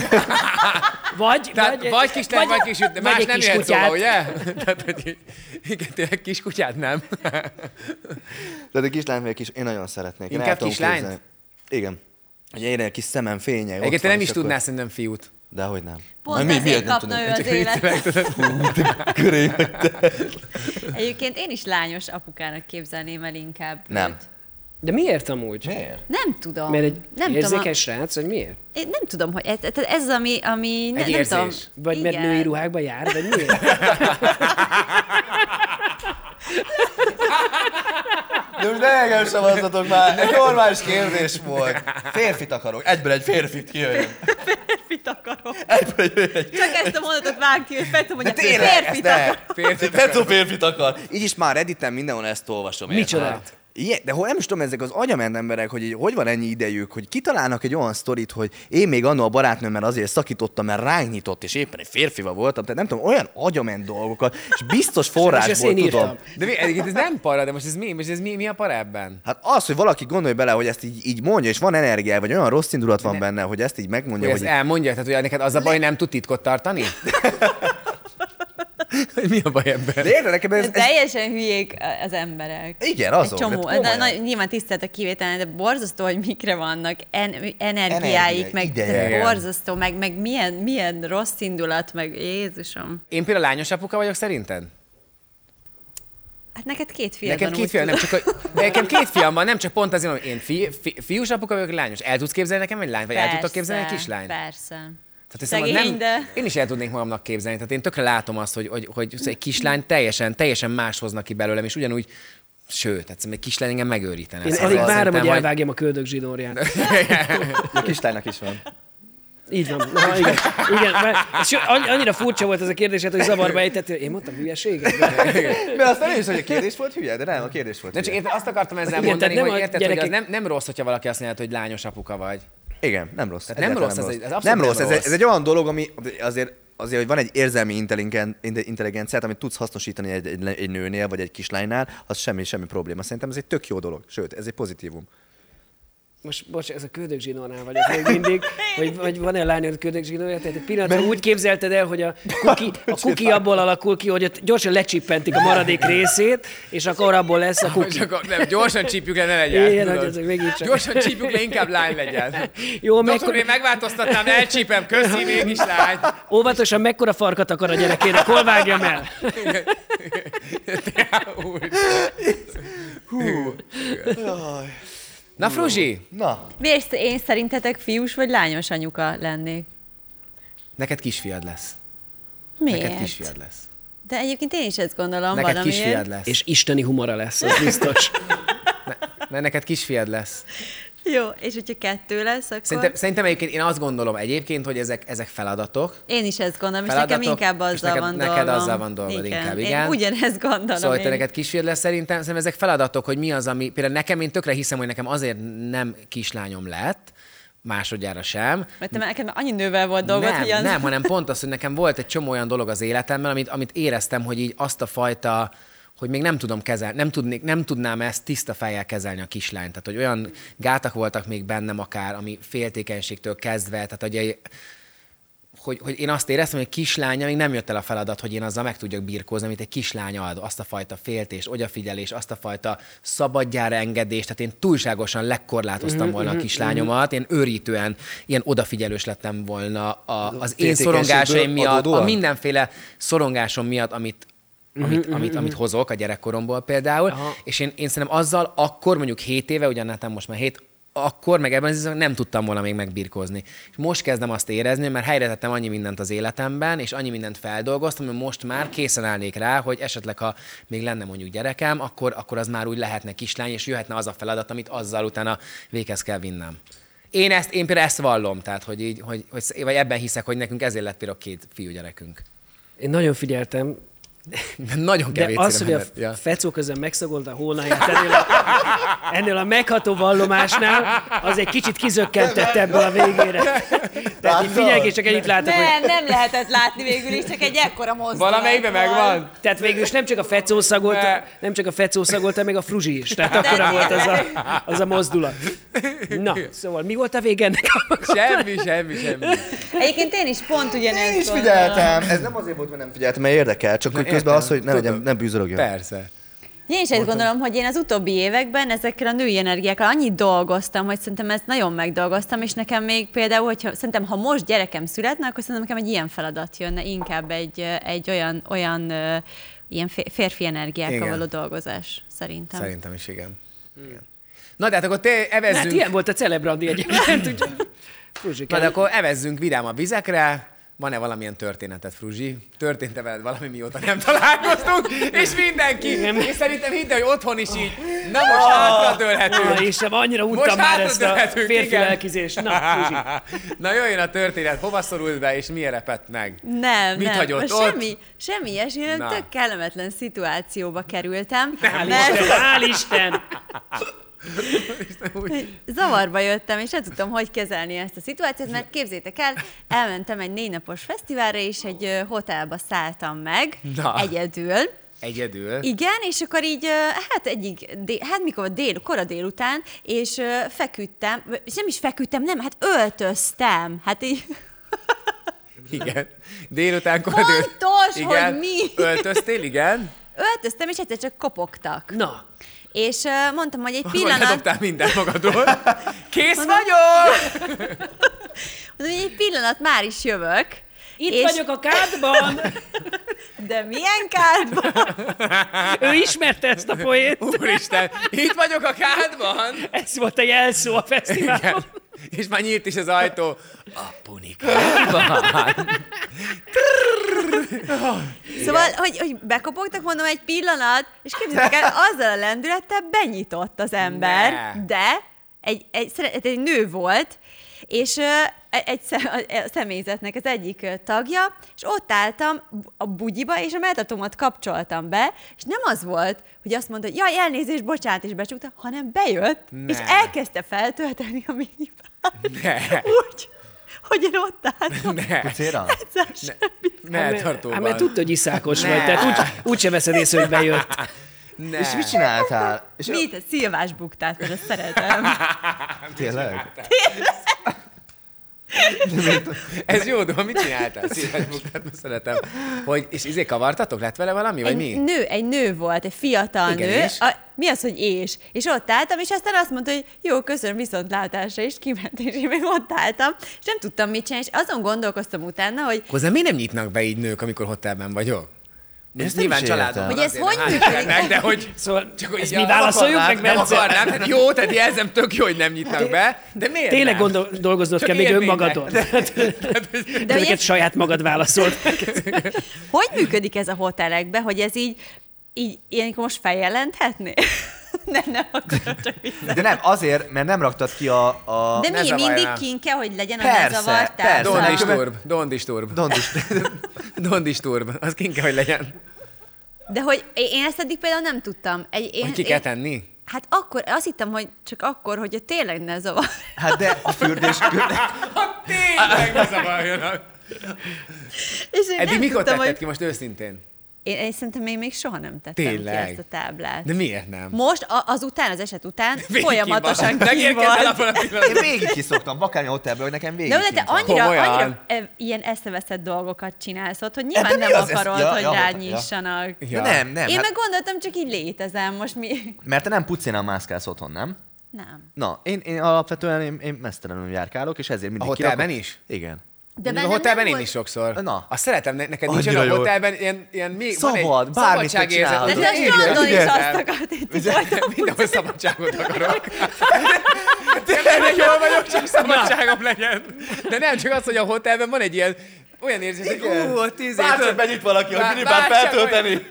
Vagy,
Tehát vagy kislány, vagy kisüt, de
vagy
más
egy
nem
kis
jöhet szóba,
kutyát.
ugye? Tehát, hogy így- igen, tényleg kiskutyát nem.
De egy kislányt vagy egy kis... Én nagyon szeretnék. Én el
Inkább
tudom
kislányt?
képzelni. Igen. Hogy érjen egy kis szemem fénye. ott
Egyébként
van,
te nem
és
is
akkor-
tudnál szerintem fiút.
Dehogy nem.
Pont
Na,
ezért
miért nem
kapna ő
tudnék?
az életet.
Köré vagy.
Egyébként én is lányos apukának képzelném el inkább.
Nem.
őt.
De miért amúgy? Miért?
Nem tudom.
Mert egy
nem tudom, a,
érzékeny srác, hogy miért?
én nem tudom, hogy ez, tehát ez az, ami, ami ne,
Egy
nem tudom.
érzés.
Vagy mert
Igen.
női ruhákba jár, vagy miért?
De most ne engem szavazzatok már. Egy normális kérdés volt. Férfit akarok. Egyből egy férfit kijöjjön.
akarok.
Ebből egy- egy-
Csak ezt a mondatot vág ki, hogy fel tudom, hogy
De
a
tényleg,
férfit akarok.
férfi Petro férfit akar. Így is már Redditen mindenhol ezt olvasom. érted?
Micsoda?
Ilyen, de hol nem is tudom, ezek az agyament emberek, hogy így, hogy van ennyi idejük, hogy kitalálnak egy olyan sztorit, hogy én még annó a barátnőmmel azért szakítottam, mert ránk nyitott, és éppen egy férfival voltam, tehát nem tudom, olyan agyament dolgokat, és biztos
ezt
forrásból
én
tudom.
írtam.
De mi, egyébként ez nem para, de most ez mi, most ez mi, mi a para ebben?
Hát az, hogy valaki gondolj bele, hogy ezt így, így mondja, és van energia, vagy olyan rossz indulat van benne, hogy ezt így megmondja,
Hogy
hogy,
ezt elmondja, tehát hogy neked az a baj, nem tud titkot tartani? Hogy mi a baj ebben?
De érted, nekem ez,
De
ez
teljesen hülyék az emberek.
Igen, azok,
Egy
hát
csomó.
komolyan.
de, na, nyilván tisztelt a kivétel, de borzasztó, hogy mikre vannak en,
Energia,
energiáik, meg
ideje.
tehát borzasztó, meg, meg milyen, milyen rossz indulat, meg Jézusom.
Én például lányos apuka vagyok szerinted?
Hát neked két fiad
Nekem
van,
két
úgy
fiam, nem
tudom.
csak a, nekem két fiam van, nem csak pont azért, hogy én fi, fi, fiús apuka vagyok, lányos. El tudsz képzelni nekem egy lányt, vagy el tudtok képzelni egy
Persze,
kislányt?
Persze.
Tehát
Szegény,
hiszem, nem,
de...
Én is el tudnék magamnak képzelni. Tehát én tökre látom azt, hogy, hogy, hogy egy kislány teljesen, teljesen más hoznak ki belőlem, és ugyanúgy, sőt, tehát egy kislány engem megőrítene.
Én
Szóval
alig várom,
szerintem
hogy
majd-
elvágjam a köldök zsinórját.
a kislánynak is van.
Így van. Na, igen. igen. Mert, és anny- annyira furcsa volt ez a kérdésed, hogy zavarba ejtettél. Én mondtam hülyeséget.
Mert aztán én is, hogy a kérdés volt hülye, de nem, a kérdés volt
Nem csak
hülye.
érted, azt akartam ezzel
Igen,
mondani,
tehát nem
hogy
a
érted, hogy az
gyerekek-
nem, nem rossz, hogyha valaki azt mondja, hogy lányos apuka vagy.
Igen, Hát nem rossz.
Tehát nem
Egyáltalán
rossz, ez egy- ez abszolút
nem
nem
rossz. Ez, egy-
rossz.
ez egy olyan dolog, ami azért, azért, hogy van egy érzelmi intelligen- inte- intelligenciát, amit tudsz hasznosítani egy, egy, egy nőnél, vagy egy kislánynál, az semmi, semmi probléma. Szerintem ez egy tök jó dolog. Sőt, ez egy pozitívum.
Most, bocs, ez a köldök zsinórnál vagyok még mindig, hogy, hogy van-e lányod köldök zsinórja, tehát egy pillanatra úgy képzelted el, hogy a kuki, a kuki abból alakul ki, hogy ott gyorsan lecsippentik a maradék részét, és akkor abból lesz a kuki.
Csak a, nem, gyorsan csípjük le, ne legyen.
Igen,
tudod.
hogy ezek végig csak-
Gyorsan csípjük le, inkább lány legyen.
Jó,
Jó, Doktor,
mekkor-
én megváltoztatnám, elcsípem, köszi, mégis lány.
Óvatosan mekkora farkat akar a gyerekének, hol vágjam el?
Na, Fruzsi,
Na,
Miért én szerintetek fiús vagy lányos anyuka lennék?
neked kisfiad lesz. Neked
Miért?
kisfiad lesz.
De egyébként én is ezt gondolom
Neked
valamiért.
kisfiad lesz.
És isteni humora lesz, az biztos.
Ne, neked kisfiad lesz.
Jó, és hogyha kettő lesz, akkor...
Szerintem, szerintem egyébként én azt gondolom egyébként, hogy ezek, ezek feladatok.
Én is ezt gondolom, és nekem
Feladatok,
inkább azzal
és neked-
van
neked
dolgom.
azzal van dolgod inkább, igen.
Én ugyanezt gondolom
Szóval, hogy te
én.
neked kisfiad lesz, szerintem, szerintem ezek feladatok, hogy mi az, ami... Például nekem, én tökre hiszem, hogy nekem azért nem kislányom lett, másodjára sem,
Mert te már nekem annyi nővel volt dolgot,
nem,
hogy az...
nem, hanem pont az, hogy nekem volt egy csomó olyan dolog az életemben, amit, amit éreztem, hogy így azt a fajta hogy még nem tudom kezelni, nem, tudnék, nem tudnám ezt tiszta fejjel kezelni a kislányt. Tehát, hogy olyan gátak voltak még bennem akár, ami féltékenységtől kezdve, tehát hogy, hogy, hogy én azt éreztem, hogy kislánya még nem jött el a feladat, hogy én azzal meg tudjak birkózni, amit egy kislány ad, azt a fajta féltést, odafigyelést, azt a fajta szabadjára engedést, tehát én túlságosan lekorlátoztam volna a kislányomat, én őrítően ilyen odafigyelős lettem volna a, az én
féltékenységből
szorongásaim miatt, a
adódóan?
mindenféle szorongásom miatt, amit amit,
Mhm,
amit, amit hozok a gyerekkoromból például, Aha. és én, én szerintem azzal akkor, mondjuk 7 éve, ugyan nekem most már 7, akkor meg ebben az időszakban nem tudtam volna még megbirkózni. És most kezdem azt érezni, mert helyre tettem annyi mindent az életemben, és annyi mindent feldolgoztam, hogy most már készen állnék rá, hogy esetleg, ha még lenne mondjuk gyerekem, akkor, akkor az már úgy lehetne kislány, és jöhetne az a feladat, amit azzal utána véghez kell vinnem. Én ezt, én például ezt vallom, tehát, hogy így, hogy, hogy, vagy ebben hiszek, hogy nekünk ezért lett például két fiúgyerekünk.
Én nagyon figyeltem,
Nagyon
De
kevés.
az, hogy
szívem
a
lett. Ja.
fecó közben megszagolt a hónáját ennél a, ennél a megható vallomásnál, az egy kicsit kizökkentett ebből a végére. Tehát így figyelj, és csak ennyit látok, hogy...
Nem, nem lehetett látni végül is, csak egy ekkora mozdulat.
Valamelyikben
volt.
megvan.
Tehát végül is nem csak a fecó szagolt, nem csak a fecó szagolt, hanem még a fruzsi is. Tehát akkora volt az a, az a mozdulat. Na, szóval mi volt a vége ennek?
Semmi, semmi, semmi.
Egyébként én is pont ugyanezt
én is
gondolom.
figyeltem. Ez nem azért volt, mert nem figyeltem, mert érdekel, csak hogy közben az, hogy ne legyen, nem bűzölögjön.
Persze.
Én is ezt gondolom, hogy én az utóbbi években ezekkel a női energiákkal annyit dolgoztam, hogy szerintem ezt nagyon megdolgoztam, és nekem még például, hogyha szerintem, ha most gyerekem születne, akkor szerintem nekem egy ilyen feladat jönne, inkább egy, egy olyan, olyan ö, ilyen fé- férfi energiákkal
Igen.
való dolgozás, szerintem.
Szerintem Hmm. is igen. igen. Na de hát akkor te
Hát
evezzünk,
ilyen volt a celebrandi egyébként. úgyhogy- Fruzsi,
na de akkor evezzünk vidám a vizekre, Van-e valamilyen történeted, Fruzsi? Történt-e veled valami, mióta nem találkoztunk? És mindenki, és szerintem hidd el, hogy otthon is így, na most hátradőlhetünk.
Úr Istenem, annyira
hát- Most
untam már ezt a
hátradőlhetünk,
férfi
igen.
lelkizést. Na, Fruzsi.
Na jöjjön a történet, hova szorult be, és milyen repett meg?
Nem,
Mit
nem.
hagyott ott?
semmi, semmi ilyesmi, nem
Na.
tök kellemetlen szituációba kerültem,
Hál'
mert
Isten, hál' Isten!
zavarba jöttem, és nem tudtam, hogy kezelni ezt a szituációt, mert képzétek el, elmentem egy négy napos fesztiválra, és egy ö, hotelba szálltam meg
Na.
egyedül,
Egyedül.
igen, és akkor így, ö, hát egyik, dé- hát mikor dél, kora délután, és ö, feküdtem, vagy nem is feküdtem, nem, hát öltöztem. Hát így,
Igen. Délután
Fontos, hogy
igen.
mi.
Öltöztél, igen?
öltöztem, és egyszer csak kopogtak.
Na,
És ö, mondtam, hogy egy
Pillanat.
pillanat,
Ledobtál mindent magadról. Kész vagyok!
mondom, hogy egy pillanat, már is jövök.
itt
és,
vagyok a kádban!
De milyen kárba?
Ő ismerte ezt a poét.
Úristen, itt vagyok a kádban!
Ez volt a jelszó a fesztiválon.
Igen. És már nyílt is az ajtó. A punikában.
Szóval, hogy, hogy bekopogtak, mondom, egy pillanat, és képzeljétek el, azzal a lendülettel benyitott az ember,
Ne.
de egy, egy, szere- egy nő volt, és ö, e- egy szem, a- a személyzetnek az egyik ö, tagja, és ott álltam a bugyiba, és a melltartómat kapcsoltam be, és nem az volt, hogy azt mondta, hogy jaj, elnézést, bocsánat, és becsukta, hanem bejött,
Ne.
és elkezdte feltölteni a minipát.
Ne.
Úgy, hogy én ott álltam.
Ne.
Céra?
Egyszer semmi.
Ne, tartóban.
Hát mert tudta, hogy iszákos
Ne.
vagy, tehát úgy, úgy sem veszed észre, hogy bejött.
Ne.
És mit csináltál? És
Mit? A Szilvás buktát, mert azt szeretem.
Tényleg?
Ez jó, de mit csináltál? Szíves buktát, mert szeretem. Hogy, és izé kavartatok? Lett vele valami, vagy
egy
mi?
Nő, egy nő volt, egy fiatal
Igen,
nő.
és?
A, mi az, hogy és? És ott álltam, és aztán azt mondta, hogy jó, köszönöm viszontlátásra, és kiment, és én még ott álltam, és nem tudtam mit csinálni, és azon gondolkoztam utána, hogy
Hozzá miért nem nyitnak be így nők, amikor hotelben vagyok? Ezt
nem
nyilván
is
családom
értem.
van
Hogy ez
azért,
hogy
de hát
működik?
ennek, de hogy...
Szóval
hogy
ezt
így
mi
nem
válaszoljuk
akarnám,
meg,
Nem
Bence? Hát,
akarnám, tehát jó, tehát jelzem, tök jó, hogy nem nyitnak be, de miért
Tényleg
nem?
gondol, dolgoznod
Csak
kell még
élménynek.
önmagadon.
De
De
hogy
ezeket
ez,
saját magad válaszolt.
hogy működik ez a hotelekben, hogy ez így, így ilyenkor most feljelenthetné? nem, nem akarom csak vissza.
De nem, azért, mert nem raktad ki a... a...
De
ne
mi,
zavarj
mindig
már.
kint kell, hogy legyen a
Persze,
bezavartál.
persze.
Don't
Szóval-
disturb, don't disturb.
Don't disturb.
Don't disturb. Az kint kell, hogy legyen.
De hogy én ezt eddig például nem tudtam. Egy, én,
Hogy ki kell tenni?
Hát akkor, azt hittem, hogy csak akkor, hogy tényleg ne zavar.
Hát de a fürdés közben...
Tényleg ne zavarjanak.
És én
Eddig
nem
mikor
tudtam,
tetted
hogy...
ki most őszintén?
Én, én szerintem én még soha nem tettem
Tényleg?
ki ezt a táblát.
De miért nem?
Most, a, az után, az eset után
Végig van.
folyamatosan ki
Megérkezel abban
volt.
a
Én
pillanatban.
végig kiszoktam, akármi hotelből, hogy nekem végig
De ugye te
kint van.
annyira,
Komolyan?
annyira e, ilyen eszeveszett dolgokat csinálsz ott, hogy nyilván
de mi
nem
az ez?
akarod,
Ja,
hogy
ja,
rányissanak.
De nem, nem.
Én
hát,
meg gondoltam, csak így létezem, most mi...
Mert te nem pucénál mászkálsz otthon, nem?
Nem.
Na, én, én alapvetően én, én mesztelenül járkálok, és ezért mindig
A hotelben
kirakom-
is?
Igen.
De
a
bennem
hotelben
nem
én
volt-
is sokszor.
Na.
Azt szeretem, ne- neked nincs
Annyira
a
jó.
hotelben ilyen, ilyen mi, van
Szabad,
egy
bármit te
szabadságérzet.
csinálhatod.
De te a
Igen.
strandon is
Igen.
azt akart, itt így voltam.
Mindenhol szabadságot akarok. Tényleg jól vagyok, csak szabadságom legyen. De nem csak az, hogy a hotelben van egy ilyen olyan érzés, hogy ú, ott izé...
Bárcsak
tudod,
benyit valaki, hogy
bár-
minibárt
bárcsak
feltölteni.
olyan-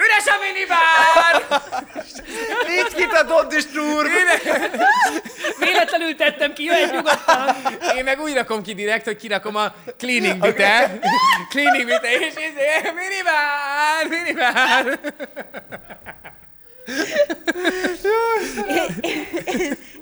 Üres a minibár!
Nincs kit a Don't Disturb!
Véletlenül tettem ki, jöhet nyugodtan.
Én meg úgy rakom ki direkt, hogy kirakom a cleaning bitte. cleaning bitte, és izé, minibár, minibár.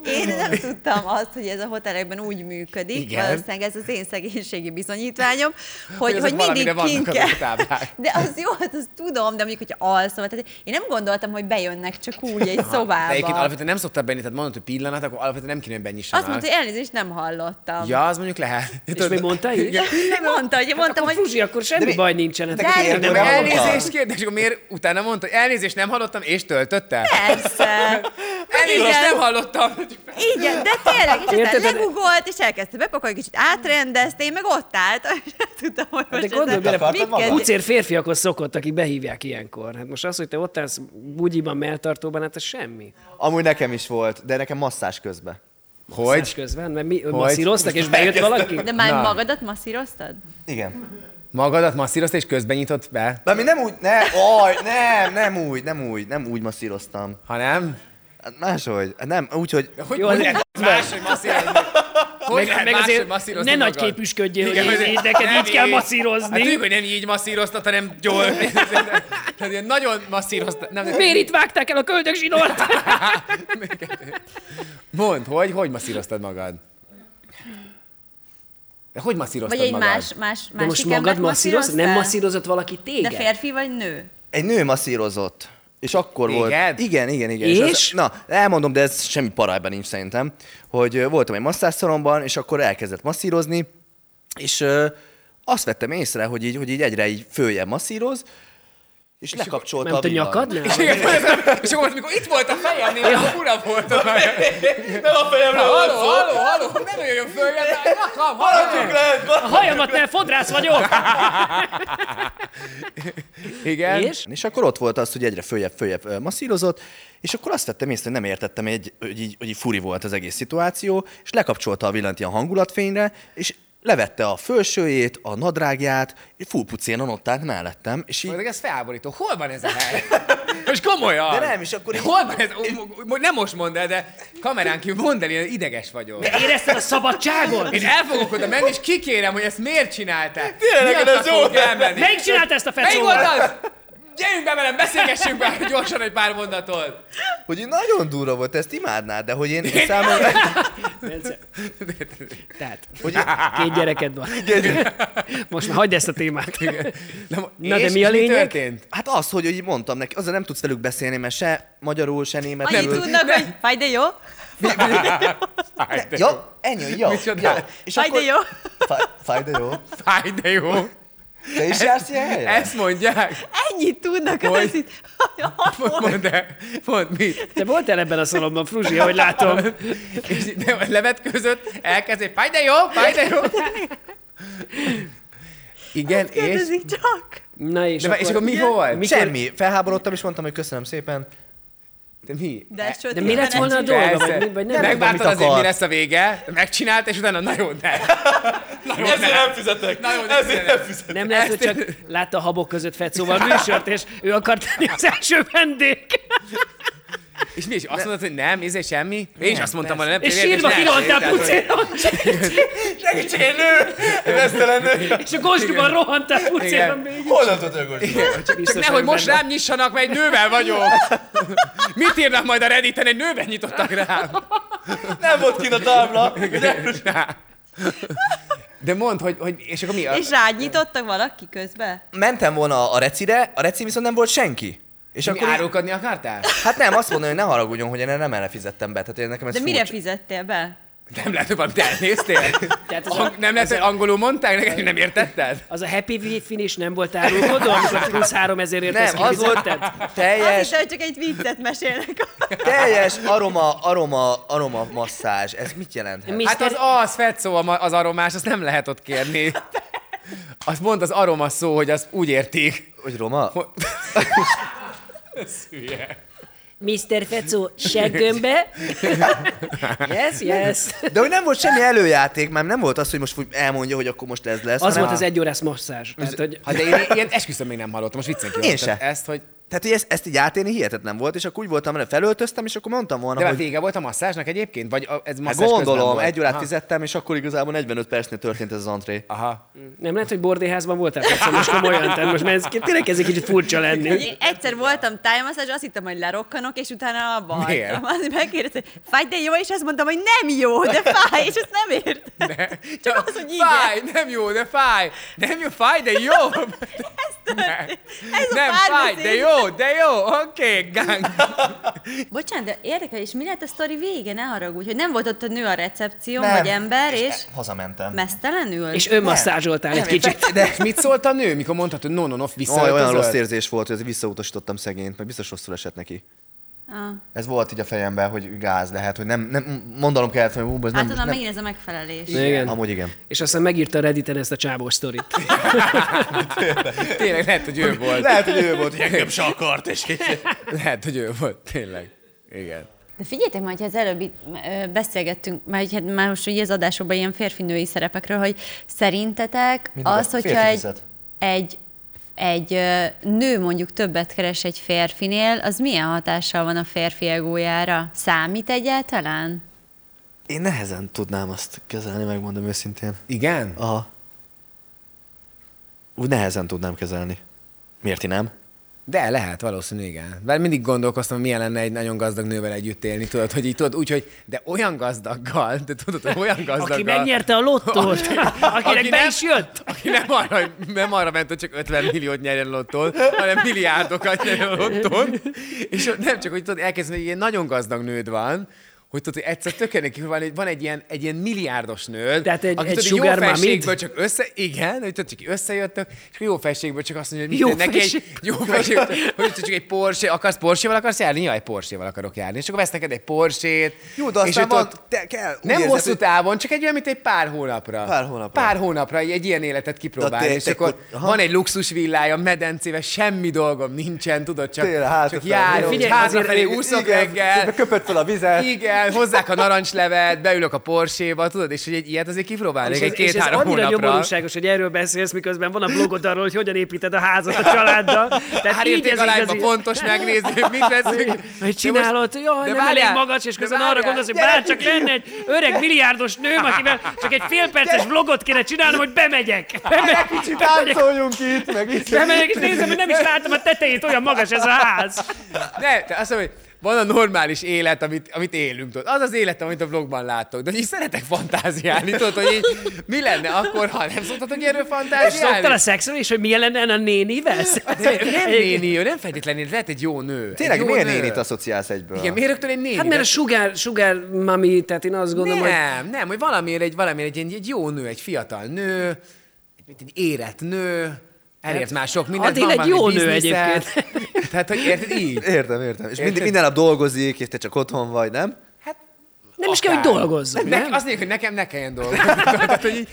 Én nem tudtam azt, hogy ez a hotelekben úgy működik,
Igen.
Igen. valószínűleg ez az én szegénységi bizonyítványom, hogy,
azok
hogy mindig
valamire vannak
kint
azok a
kell.
táblák.
De az jó, hát azt tudom, de mondjuk, hogyha alszom, tehát én nem gondoltam, hogy bejönnek csak úgy egy
De egyébként
szobába.
alapvetően nem szoktál benni, tehát mondod, hogy pillanat, akkor alapvetően nem kéne, hogy benyissanak.
Azt mondta, hogy elnézést nem hallottam.
Ja, az mondjuk lehet.
És még mondta is?
Igen.
Mondta, hogy mondtam, hogy
Akkor Fruzsi, akkor semmi
mi-
baj nincsen. Hát
De
akkor
miért
miért
nem
nem
hallottam?
hallottál?
Elnézést kérdés, akkor miért utána mondta, hogy elnézést nem hallottam, és töltöttem?
persze.
Elnézést
Igen.
nem hallottam.
Igen, de tényleg, és aztán
Érted?
legugolt, és elkezdte bepakolni, kicsit átrendezte, én meg ott álltam, és nem tudtam, hogy most
Hát gondolj
ezzel
bele,
mit
akartad
kezdjek.
Pucér férfiakhoz szokott, akik behívják ilyenkor. Hát most az, hogy te ott állsz bugyiban, melltartóban, hát ez semmi.
Amúgy nekem is volt, de nekem masszás közben.
Hogy?
Szás közben, mert mi, masszíroztak, és bejött valaki?
De már
Na.
Na. magadat masszíroztad?
Igen.
Magadat masszírozta és közben nyitott be?
De mi nem úgy, ne, aj, nem, nem úgy, nem úgy, nem úgy masszíroztam.
Ha nem?
Hát máshogy, hát nem, úgy, hogy...
Hogy Jó, lehet máshogy masszírozni? Hogy
Meg,
lehet
meg
máshogy
azért
masszírozni
ne nagy
magad?
képűsködjél, hogy
Igen,
én,
azért-
én, neked
nem
így kell
így. Hát
masszírozni.
tudjuk, hogy nem így masszíroztat, hanem gyors. Tehát ilyen nagyon masszíroztat. Nem, nem.
Miért itt vágták el a köldök zsinort?
Mondd, hogy, hogy masszíroztad magad? De hogy masszíroztad
Vagy egy
magad?
más, más,
De
más
most magad masszíroz? Nem
masszíroztál?
masszírozott valaki
De
téged?
férfi vagy nő?
Egy nő masszírozott. És akkor
Téged?
volt. Igen, igen, igen.
És?
az, na, elmondom, de ez semmi parában nincs szerintem, hogy ö, voltam egy masszásszalomban, és akkor elkezdett masszírozni, és ö, azt vettem észre, hogy így, hogy így egyre így följebb masszíroz, és, és lekapcsolta
Ment a
villany.
nyakadnál?
Igen, és akkor amikor itt volt a fejemnél, akkor fura volt a fejem.
Nem a fejemre
Halló, halló, halló, nem jöjjön föl, mert rakam, halló.
A hajamat nem fodrász vagyok!
Igen.
És?
És akkor ott volt az, hogy egyre följebb, följebb ö, masszírozott, és akkor azt vettem észre, hogy nem értettem, egy, hogy, így, hogy így furi volt az egész szituáció, és lekapcsolta a villant ilyen hangulatfényre, és levette a fölsőjét, a nadrágját, és full pucénon ott állt mellettem, és így...
Mondjuk ez felborító. Hol van ez a hely? Most komolyan.
De nem, és akkor így-
Hol van ez? Ó, mo- mo- Nem most mondd el, de kamerán kívül mondd el, én ideges vagyok.
Érezted a szabadságot?
Én el fogok oda menni, és kikérem, hogy ezt miért csinálták.
Tényleg,
Miatt
ez
azt
jó.
fogok elmenni.
Melyik csinálta ezt a
Melyik
fecóval?
volt az? Gyerünk be velem, beszélgessünk már gyorsan egy pár mondatot.
Hogy így nagyon durva volt, ezt imádnád, de hogy én számomra...
Bence. Tehát, hogy két gyereked van. Most már hagyd ezt a témát.
Na,
Na, de
és-
mi
és
a lényeg?
történt?
Hát az, hogy így mondtam neki, azzal nem tudsz velük beszélni, mert se magyarul, se
Annyit
németül.
tudnak, hogy fáj, de jó?
Fáj, de jó.
Ja, ennyi, ja,
Micsoda?
ja. És
Fáj, de jó?
Fáj, fáj, de jó.
Fáj, de jó.
Te is jársz ilyen helyre?
Ezt mondják.
Ennyit tudnak,
Hogy?
az itt.
Mondd el. Mondd mit.
Te voltál ebben a szalomban, Fruzsi, ahogy látom.
És de levetközött, elkezd egy fáj, de jó, fáj, de jó. Igen, és...
Kérdezik csak.
Na és,
De akkor, és akkor mi volt?
Mikor... Semmi. Felháborodtam, és mondtam, hogy köszönöm szépen.
De mi? E-
De, ez
De mi lett
sötétben
volna a
egy-
dolga? Vagy, mi- vagy nem?
Megvártad
tudom,
azért,
mit
mi
akart.
lesz a vége, megcsinált, és utána nagyon nem. Nagyon Ezért nem fizetek. Nagyon Ezért nem fizetek.
Nem lehet, hogy csak látta a habok között fecóval műsort, és ő akart lenni az első vendég.
És mi is azt mondtad, hogy nem, ez semmi? Én is azt mondtam, hogy nem.
És
tényleg,
sírva
nem.
kiroltál
Tehát, hogy-
pucéron, és a gosdúban rohantál pucéron végig.
Honnan tudod, hogy
Csak nehogy most rám nyissanak, mert egy nővel vagyok. Mit írnak majd a Redditen? Egy nővel nyitottak rám.
nem volt kint a tábla?
De mondd, hogy, hogy és akkor mi? A...
És rád nyitottak valaki közben?
Mentem volna a recire, a reci viszont nem volt senki. És
mi
akkor így,
árulkodni akartál?
hát nem, azt mondom, hogy ne haragudjon, hogy én nem erre fizettem be. Tehát én nekem ez
De mire
furcsa.
fizettél be?
Nem lehet, hogy valamit elnéztél?
Tehát ez a-
Ang- nem lehet, hogy angolul mondták neked, hogy nem értetted?
Az a happy finish nem volt árulkodó, amikor plusz három ezer értesz,
Nem, az volt
Azt
teljes,
hittem, hogy csak egy viccet mesélnek.
teljes aroma, aroma, aroma masszázs. Ez mit jelent?
Mi-
Hát az az, Fetszó, ama- az aromás, azt nem lehet ott kérni. Azt mondd az aroma szó, hogy az úgy értik.
Hogy roma?
Mr. Fecó, seggömbe. Yes, yes.
De hogy nem volt semmi előjáték, már nem volt az, hogy most úgy elmondja, hogy akkor most ez lesz.
Az
hanem-
volt az egy órás masszázs. Tehát, hogy
Hát de én ilyen esküszöm még nem hallottam, most viccen kívül.
Én se.
Ezt, hogy...
Tehát, hogy ezt, ezt így átélni hihetetlen volt, és akkor úgy voltam, hogy felöltöztem, és akkor mondtam volna,
De már
hogy...
vége volt a masszázsnak egyébként? Vagy a- ez
Hát
masszázs közben
gondolom,
volt?
egy órát
Aha.
fizettem, és akkor igazából 45 percnél történt ez az antré.
Ah.
Aha.
nem lehet, hogy bordéházban voltál Fecó, most komolyan, tehát most már ez tényleg kezd egy kicsit furcsa lenni.
Én egyszer voltam tájmasszázs, azt hittem, hogy lerokkanok, és utána abba
Miért?
hagytam. Azt megkérdezte, hogy fáj, de jó, és azt mondtam, hogy nem jó, de fáj, és ezt nem értem. Csak az, hogy igen.
Fáj, nem jó, de fáj. Nem jó, fáj, de jó.
Ez a
nem, fáj,
párbeszéd.
de jó, de jó. Oké, okay, gang.
Bocsánat, de érdekel, és mi lett a sztori vége? Ne haragudj, hogy nem volt ott a nő a recepción,
Nem.
vagy ember, és
e, hazamentem.
mesztelenül? Hát
És önmasszázsoltál egy kicsit.
De és mit szólt a nő, mikor mondtad, hogy no, no, no, vissza
Olyan, olyan rossz érzés volt, hogy visszautasítottam szegényt, meg biztos rosszul esett neki.
Ah.
Ez volt így a fejemben, hogy gáz lehet, hogy nem, nem mondanom kellett, hogy hú, ez
Hát
nem,
tudom,
nem,
megint ez a megfelelés.
Igen.
Amúgy igen.
És aztán megírta a Redditen ezt a csábos sztorit.
Tényleg lehet, hogy ő volt.
Lehet, hogy ő volt, hogy engem se akart, és így.
Lehet, hogy ő volt, tényleg. Igen.
De figyeljetek már, hogy az előbb itt, ö, beszélgettünk, már, hogy hát már most ugye az adásokban ilyen férfinői szerepekről, hogy szerintetek
Mindig
az,
a
hogyha
férfi
egy,
fizet.
egy, egy ö, nő mondjuk többet keres egy férfinél, az milyen hatással van a férfi egójára? Számít egyáltalán?
Én nehezen tudnám azt kezelni, megmondom őszintén.
Igen?
Aha. Úgy nehezen tudnám kezelni. Miért ti nem?
De lehet, valószínű igen. Mert mindig gondolkoztam, milyen lenne egy nagyon gazdag nővel együtt élni, tudod, hogy így tudod, úgyhogy, de olyan gazdaggal, de tudod, hogy olyan gazdaggal.
Aki megnyerte a lottót, akinek
Aki
be
nem-
is jött.
Aki nem arra, nem arra ment, hogy csak 50 milliót nyerjen lottón, hanem milliárdokat nyerjen lottón. És ott nem csak, hogy tudod, elkezdeni, hogy ilyen nagyon gazdag nőd van, hogy tudod, hogy egyszer tökéletes ki van, egy- van egy ilyen, egy ilyen milliárdos nőd,
Tehát egy-
aki
egy
tudod, így
sugar
jó
mommy-d?
felségből csak össze, igen, hogy tudod, csak így összejöttök, és akkor jó felségből csak azt mondja, hogy
Jó
jó neki egy,
felségből.
jó felségből, hogy tudod, csak egy Porsche, akarsz Porsche-val akarsz járni? Jaj, Porsche-val akarok járni. És akkor vesz neked egy Porsche-t.
Jó, de
és
aztán
hogy
van,
tudod,
te kell. úgy
nem
érzed,
hosszú
hogy-
távon, csak egy olyan, mint egy pár hónapra.
Pár hónapra.
Pár hónapra egy egy ilyen életet kipróbálni,
te-
és
te-
akkor
aha.
van egy luxus villája, medencéve, semmi dolgom nincsen, tudod, csak,
Tényleg, hátra
csak
fel.
járok,
Figyelj,
Figyelj,
azért-
hátrafelé úszok
Igen,
reggel.
Köpött fel a vizet.
Igen, hozzák a narancslevet, beülök a Porséba, tudod, és hogy egy ilyet azért kipróbálnék egy
és ez
két-három
annyira
hónapra.
nyomorúságos, hogy erről beszélsz, miközben van a blogod arról, hogy hogyan építed a házat a családdal. Tehát
Pár
így
érték
ez
alányba
igazi-
fontos megnézni, hogy mit veszünk. De
Hogy
most-
csinálod, jaj,
de
nem elég
várjál,
magas, és
de
közben arra
várjál,
gondolsz, hogy
gyere,
bár csak lenne egy öreg milliárdos nőm, akivel csak egy félperces vlogot kéne csinálnom, hogy bemegyek. Bemegyek, bemegyek,
Táncoljunk itt, meg itt.
bemegyek és nézem, hogy nem is látom a tetejét, olyan magas ez a ház.
Ne, te azt mondom, hogy van a normális élet, amit, amit élünk. Tudod. Az az élet, amit a vlogban láttok. De hogy így szeretek fantáziálni, tudod, hogy így, mi lenne akkor, ha nem szoktatok ilyenről
És szoktál a
fantáziálni?
szexről is, hogy milyen lenne a nénivel?
De Hát nem néni, ő nem feltétlenül, lehet egy jó nő. Egy
Tényleg,
jó
miért
nő.
nénit asszociálsz egyből?
Igen, miért rögtön egy néni?
Hát mert a sugar, sugar mami, tehát én azt gondolom, hogy
nem, nem, hogy valamiért egy, valamiért egy, egy jó nő, egy fiatal nő, egy, egy érett nő, elért már sok mindent.
Attila
van
Hát, egy
valami
jó nő
biznisze.
egyébként.
Tehát, hogy érted így?
Értem, értem. És
Érted?
minden, minden nap dolgozik, és te csak otthon vagy, nem?
nem is kell, hogy dolgozzon.
Ne,
Nem?
azt mondjuk, hogy nekem ne kelljen dolgozni. Tehát, hogy, így-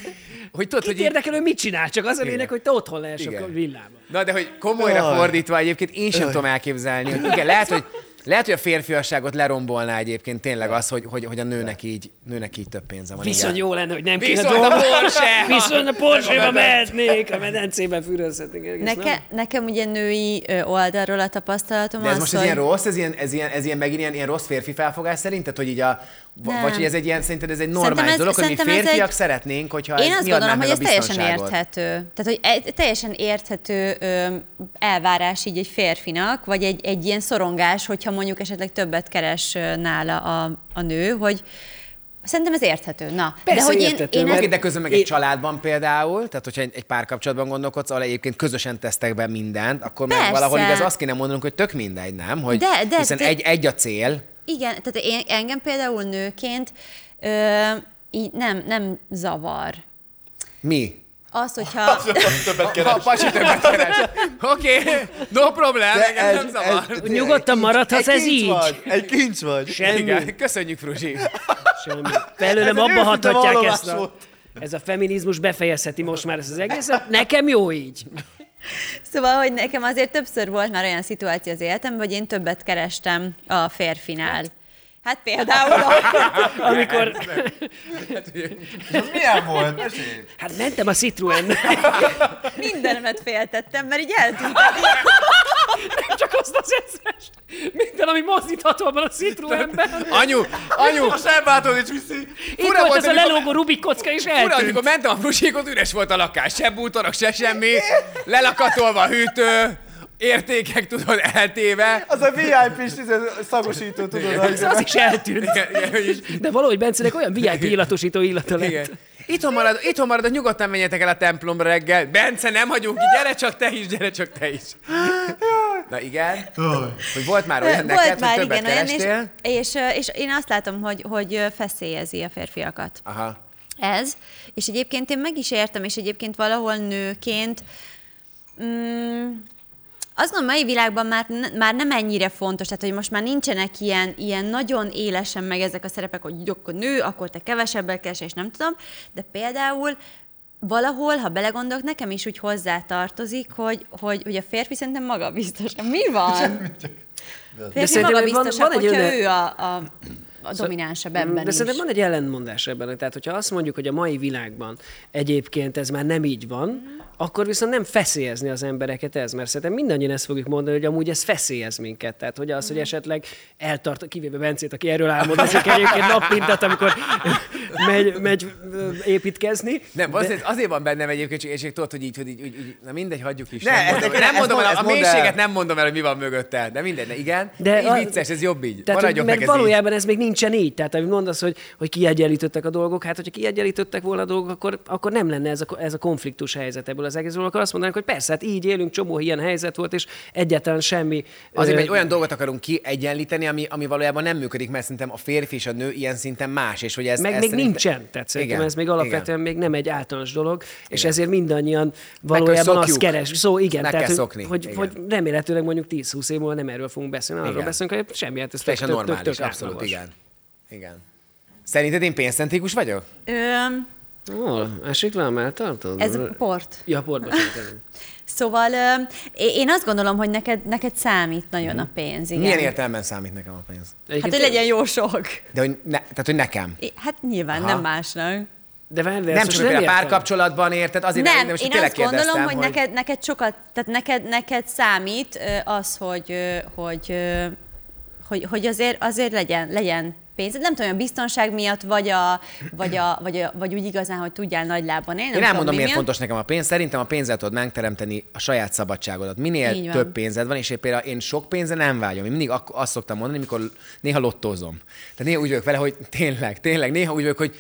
hogy tudod,
Kit
hogy így,
érdekel, hogy mit csinál, csak az a lényeg, hogy te otthon lehessek
Igen.
a villában.
Na, de hogy komolyra fordítva egyébként én sem tudom elképzelni, hogy igen, lehet, hogy lehet, hogy a férfiasságot lerombolná egyébként tényleg az, hogy, hogy, hogy a nőnek így, nőnek így több pénze van.
Viszont jó lenne, hogy nem kéne
Viszont a
dolgozni.
Porsche!
Viszont a Porsche-ba mehetnék, a medencében fürözhetnék. egész nap.
Neke, nekem ugye női ö, oldalról a tapasztalatom
De ez
az,
most
hogy...
ez ilyen rossz, ez ilyen, ez ilyen, ez ilyen megint ilyen, ilyen rossz férfi felfogás szerinted, hogy így a, v-
Nem.
vagy hogy ez egy ilyen, szerinted ez egy
Szerintem
normális
ez-
dolog, hogy mi
szerintem ez
férfiak
egy-
szeretnénk, hogyha
Én
ez-
azt
mi adná
gondolom,
meg
hogy
a
ez teljesen
biztonságot.
érthető. Tehát, hogy egy, teljesen érthető ö, elvárás így egy férfinak, vagy egy, egy ilyen szorongás, hogyha mondjuk esetleg többet keres ö, nála a, a nő, hogy szerintem ez érthető. Na,
Persze,
de hogy
érthető,
én, én
mert-
Oké,
ezt,
de közben meg egy családban például, tehát hogyha egy, egy párkapcsolatban gondolkodsz, ahol egyébként közösen tesztek be mindent, akkor meg
Persze.
valahol igaz, azt kéne mondanunk, hogy tök mindegy, nem? Hogy
De- de-
hiszen
de-
Egy, egy a cél,
igen, tehát én, engem például nőként ö, így nem, nem zavar.
mi?
Az, hogyha...
Többet
Ha a pasi többet keres. Oké, no problem,
De
engem nem
ez-
zavar.
ez-
Nyugodtan maradhatsz, ez
kincs
így.
Vagy, egy kincs vagy.
Igen, köszönjük, Fruzsi.
Semmi. Belőlem abba
őszinte
hathatják
vallomás
ezt a...
volt.
Ez a feminizmus befejezheti most már ezt az egészet. Nekem jó így.
Szóval, hogy nekem azért többször volt már olyan szituáció az életemben, hogy én többet kerestem a férfinál. Hát például, amikor-
Amikor...
Milyen volt? Mesélj.
Hát mentem a Citroen.
mindenemet féltettem, mert így eltűnt.
Csak azt az összes. Minden, ami mozdítható abban a Citroenben.
Anyu, anyu,
Sem bátod is viszi.
Itt
fura
volt
volt,
ez a
amikor-
lelógó Rubik kocka, és
Fura,
eltűnt.
amikor mentem a frusikot, üres volt a lakás. Se bútorok, se semmi. Lelakatolva a hűtő. Értékek, tudod, eltéve.
Az a VIP-s izé, szagosító, tudod.
Ez az is eltűnt.
Igen, igen, hogy is-
De valahogy Bencenek olyan VIP illatosító illata lett.
igen. Itthon marad, itthon marad, nyugodtan menjetek el a templomra reggel. Bence, nem hagyunk ki, gyere csak te is, gyere csak te is. Na igen, hogy volt már olyan neked,
Volt
hogy
már,
többet
igen, olyan, és,
kerestél.
és, és én azt látom, hogy, hogy feszélyezi a férfiakat.
Aha.
Ez, és egyébként én meg is értem, és egyébként valahol nőként mm, azt gondolom, mai világban már, ne- már nem ennyire fontos, tehát hogy most már nincsenek ilyen, ilyen nagyon élesen meg ezek a szerepek, hogy jó, akkor nő, akkor te kevesebbel keres, és nem tudom, de például valahol, ha belegondolok, nekem is úgy hozzátartozik, hogy, hogy, hogy a férfi szerintem maga biztos. Mi van? Férfi
szerintem
maga
van-
biztos,
van egy
hogyha
öne-
ő a, a, a dominánsabb ebben
De
is.
szerintem van egy ellentmondás ebben. Tehát, hogyha azt mondjuk, hogy a mai világban egyébként ez már nem így van, akkor viszont nem feszélyezni az embereket ez, mert szerintem mindannyian ezt fogjuk mondani, hogy amúgy ez feszélyez minket. Tehát, hogy
Mm.
az, hogy esetleg eltart, kivéve Bencét, aki erről álmodozik egyébként nap mintat, amikor megy, megy ö, építkezni.
Nem, azért, azért van bennem egyébként, csak, csak tudod, hogy így, hogy így, úgy, úgy, na mindegy, hagyjuk is.
Ne,
nem
ezt-
mondom,
ezt
nem mondom
mond-
el, a
ezt mondd el.
mélységet nem mondom el, hogy mi van mögötte, de mindegy, de igen. De, így vicces, ez jobb így.
Tehát, hogy,
Maradjunk meg
meg
ez így.
valójában ez még nincsen így. Tehát, amit mondasz, hogy, hogy kiegyenlítettek a dolgok, hát, hogyha kiegyenlítettek volna a dolgok, akkor, akkor nem lenne ez a, ez a konfliktus helyzet ebből az egészből. Akkor azt mondanánk, hogy persze, hát így élünk, csomó ilyen helyzet volt, és egyáltalán semmi.
Azért,
ö,
mert egy olyan dolgot akarunk kiegyenlíteni, ami, ami valójában nem működik, mert szerintem a férfi és a nő ilyen szinten más, és hogy ez...
meg
ez
még
szerintem-
nincsen, tehát szerintem
Igen,
ez még
igen.
alapvetően még nem egy általános dolog, és
Igen.
ezért mindannyian
kell
valójában azt
szokjuk.
keres. Szó, igen,
Meg
tehát,
kell
hogy,
szokni,
Hogy,
igen.
hogy, remélhetőleg mondjuk 10-20 év múlva nem erről fogunk beszélni, arról
Igen.
beszélünk, hogy semmi, hát ez tök,
Teljesen
tök, tök,
normális,
tök
abszolút,
átlagos.
igen. Igen. Szerinted én pénzcentrikus vagyok?
Öm,
Ó, esik le a melltartod?
ez port.
Ja, port, bocsánat, igen.
Szóval öm, é- én azt gondolom, hogy neked, neked számít nagyon a pénz.
Mhm.
Igen.
Milyen értelemben számít nekem a pénz?
Hát,
Egyébként-
hogy legyen jó sok.
De hogy, ne, tehát, hogy nekem.
É, Hát nyilván, nem másnak.
De várj, de
Nem
ezt
csak
most
hogy
nem
például
értem.
párkapcsolatban érted, azért
nem,
most
én
tényleg
azt gondolom,
kérdeztem,
hogy, neked, neked sokat, tehát neked, neked számít ö, az, hogy, ö, hogy, ö, hogy, hogy azért, azért legyen, legyen pénzed. Nem tudom, a biztonság miatt, vagy, a, vagy, a, vagy, a, vagy úgy igazán, hogy tudjál nagy lábban élni.
Én
nem tudom,
elmondom,
mi
miért
miatt.
fontos nekem a pénz. Szerintem a pénzzel tudod megteremteni a saját szabadságodat. Minél
Így van.
több pénzed van, és én például én sok pénze nem vágyom. Én mindig ak- azt szoktam mondani, mikor néha lottózom. Tehát néha úgy vagyok vele, hogy tényleg, tényleg, néha úgy vagyok, hogy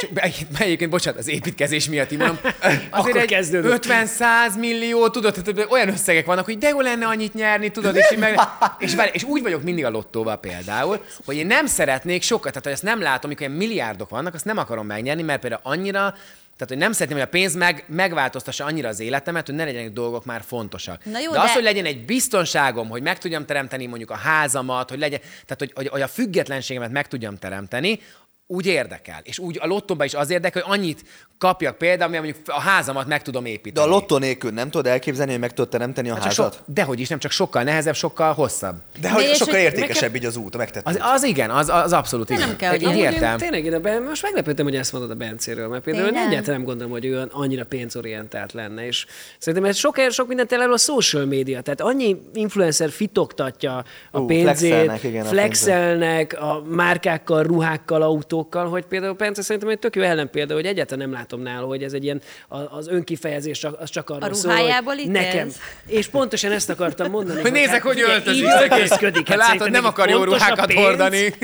csak be- Egyébként, bocsánat, az építkezés miatt így mondom.
Akkor
Azért egy
kezdődött.
50-100 millió, tudod, tehát olyan összegek vannak, hogy de jó lenne annyit nyerni, tudod, és, így meg, és, várj, és úgy vagyok mindig a lottóval például, hogy én nem szeretnék sokat, tehát hogy ezt nem látom, amikor ilyen milliárdok vannak, azt nem akarom megnyerni, mert például annyira, tehát, hogy nem szeretném, hogy a pénz meg, megváltoztassa annyira az életemet, hogy ne legyenek dolgok már fontosak.
Na jó,
de az,
de-
hogy legyen egy biztonságom, hogy meg tudjam teremteni mondjuk a házamat, hogy legyen, tehát hogy, hogy, hogy a függetlenségemet meg tudjam teremteni, úgy érdekel. És úgy a lottóban is az érdekel, hogy annyit kapjak például, ami mondjuk a házamat meg tudom
De
építeni. Hát
a lottó nélkül nem tudod elképzelni, hogy meg tudod teremteni a
Hát,
csak
házat?
sok, dehogy is, nem csak sokkal nehezebb, sokkal hosszabb.
De hogy
De és
sokkal
hogy
értékesebb így az út, a megtett
Az, az igen, az, az abszolút
De
igen.
nem kell, hogy
Így
legyen.
értem.
Én, tényleg, én a ben, most meglepődtem, hogy ezt mondod a Bencéről, mert például én
Tényleg?
egyáltalán nem gondolom, hogy ő olyan annyira pénzorientált lenne, és szerintem ez sok, sok mindent elárul a social média, tehát annyi influencer fitoktatja a
Ú,
pénzét,
flexelnek, igen, a
flexelnek a márkákkal, ruhákkal, autókkal, hogy például Bence szerintem egy tök jó ellenpélda, hogy egyáltalán nem látom nála, hogy ez egy ilyen, a- az önkifejezés csak- az csak arról
A
szól, hogy
ruhájából ítélsz?
nekem. És pontosan ezt akartam mondani.
Hogy nézek,
hát
hogy
figyelj,
öltözik
így
szegény.
öltözködik. Hát
Látod,
szerintem
nem
neki
akar jó
fontos a
ruhákat
pénz.
hordani.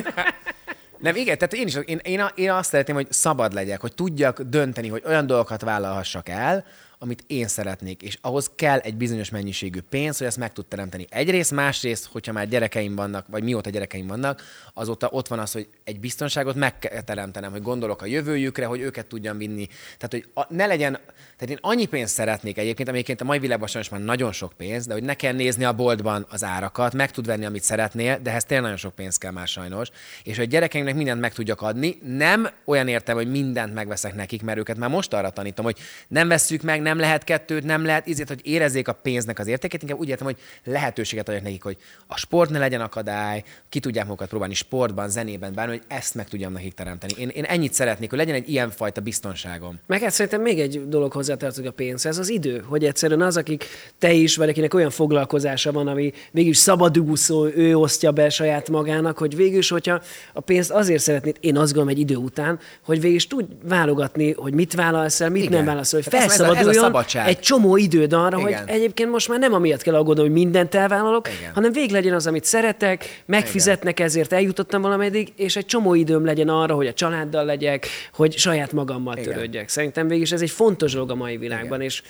Nem, igen, tehát én is, én, én, a- én azt szeretném, hogy szabad legyek, hogy tudjak dönteni, hogy olyan dolgokat vállalhassak el, amit én szeretnék, és ahhoz kell egy bizonyos mennyiségű pénz, hogy ezt meg tud teremteni. Egyrészt, másrészt, hogyha már gyerekeim vannak, vagy mióta gyerekeim vannak, azóta ott van az, hogy egy biztonságot meg kell teremtenem, hogy gondolok a jövőjükre, hogy őket tudjam vinni. Tehát, hogy a, ne legyen, tehát én annyi pénzt szeretnék egyébként, amiként a mai világban sajnos már nagyon sok pénz, de hogy ne kell nézni a boltban az árakat, meg tud venni, amit szeretnél, de ehhez tényleg nagyon sok pénz kell már sajnos. És hogy a gyerekeimnek mindent meg tudjak adni, nem olyan értem, hogy mindent megveszek nekik, mert őket már most arra tanítom, hogy nem vesszük meg, nem lehet kettőt, nem lehet ízét, hogy érezzék a pénznek az értékét, inkább úgy értem, hogy lehetőséget adjak nekik, hogy a sport ne legyen akadály, ki tudják magukat próbálni sportban, zenében, bármi, hogy ezt meg tudjam nekik teremteni. Én, én ennyit szeretnék, hogy legyen egy ilyenfajta biztonságom.
Meg hát szerintem még egy dolog hozzátartozik a pénzhez, az idő, hogy egyszerűen az, akik te is, vagy akinek olyan foglalkozása van, ami végül szabadúszó, ő osztja be saját magának, hogy végül is, hogyha a pénzt azért szeretnéd, én azt gondolom egy idő után, hogy végül is tudj válogatni, hogy mit vállalsz el, mit
Igen.
nem vállalsz el, hogy
Tehát ez- ez a- ez a
felszabaduljon
szabadság.
egy csomó időd arra,
Igen.
hogy egyébként most már nem amiatt kell aggódnom, hogy mindent elvállalok,
Igen.
hanem vég legyen az, amit szeretek, megfizetnek ezért, eljutottam valameddig, és egy csomó időm legyen arra, hogy a családdal legyek, hogy saját magammal törődjek. Szerintem végig is ez egy fontos dolog a mai világban, és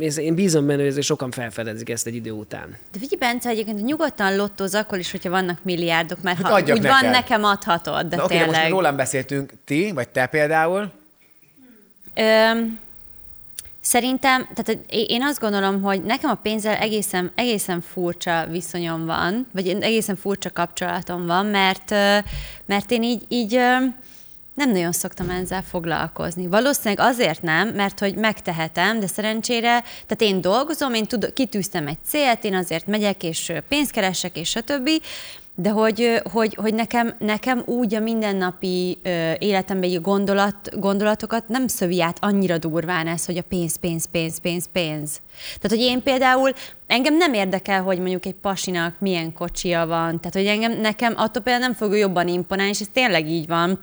ez- én bízom benne, hogy ezért sokan felfedezik ezt egy idő után.
De figyelj, Bence, egyébként hogy nyugodtan lottóz akkor is, hogyha vannak milliárdok, mert ha
Hát adjak
úgy van,
neked.
nekem adhatod, de
Na, oké, de most
tényleg.
már rólam beszéltünk, ti, vagy te például.
Öm, szerintem, tehát hogy é- én azt gondolom, hogy nekem a pénzzel egészen, egészen furcsa viszonyom van, vagy én egészen furcsa kapcsolatom van, mert, ö, mert én így, így ö, Nem nagyon szoktam ezzel foglalkozni. Valószínűleg azért nem, mert hogy megtehetem, de szerencsére, tehát én dolgozom, én tud, kitűztem egy célt, én azért megyek és ö, pénzt keresek, és stb. De hogy, ö, hogy, hogy nekem, nekem úgy a mindennapi ö, életemben gondolat, gondolatokat nem szövi át annyira durván ez, hogy a pénz, pénz, pénz, pénz, pénz. Tehát, hogy én például, engem nem érdekel, hogy mondjuk egy pasinak milyen kocsia van. Tehát, hogy engem, nekem attól például nem fog ő jobban imponálni, és ez tényleg így van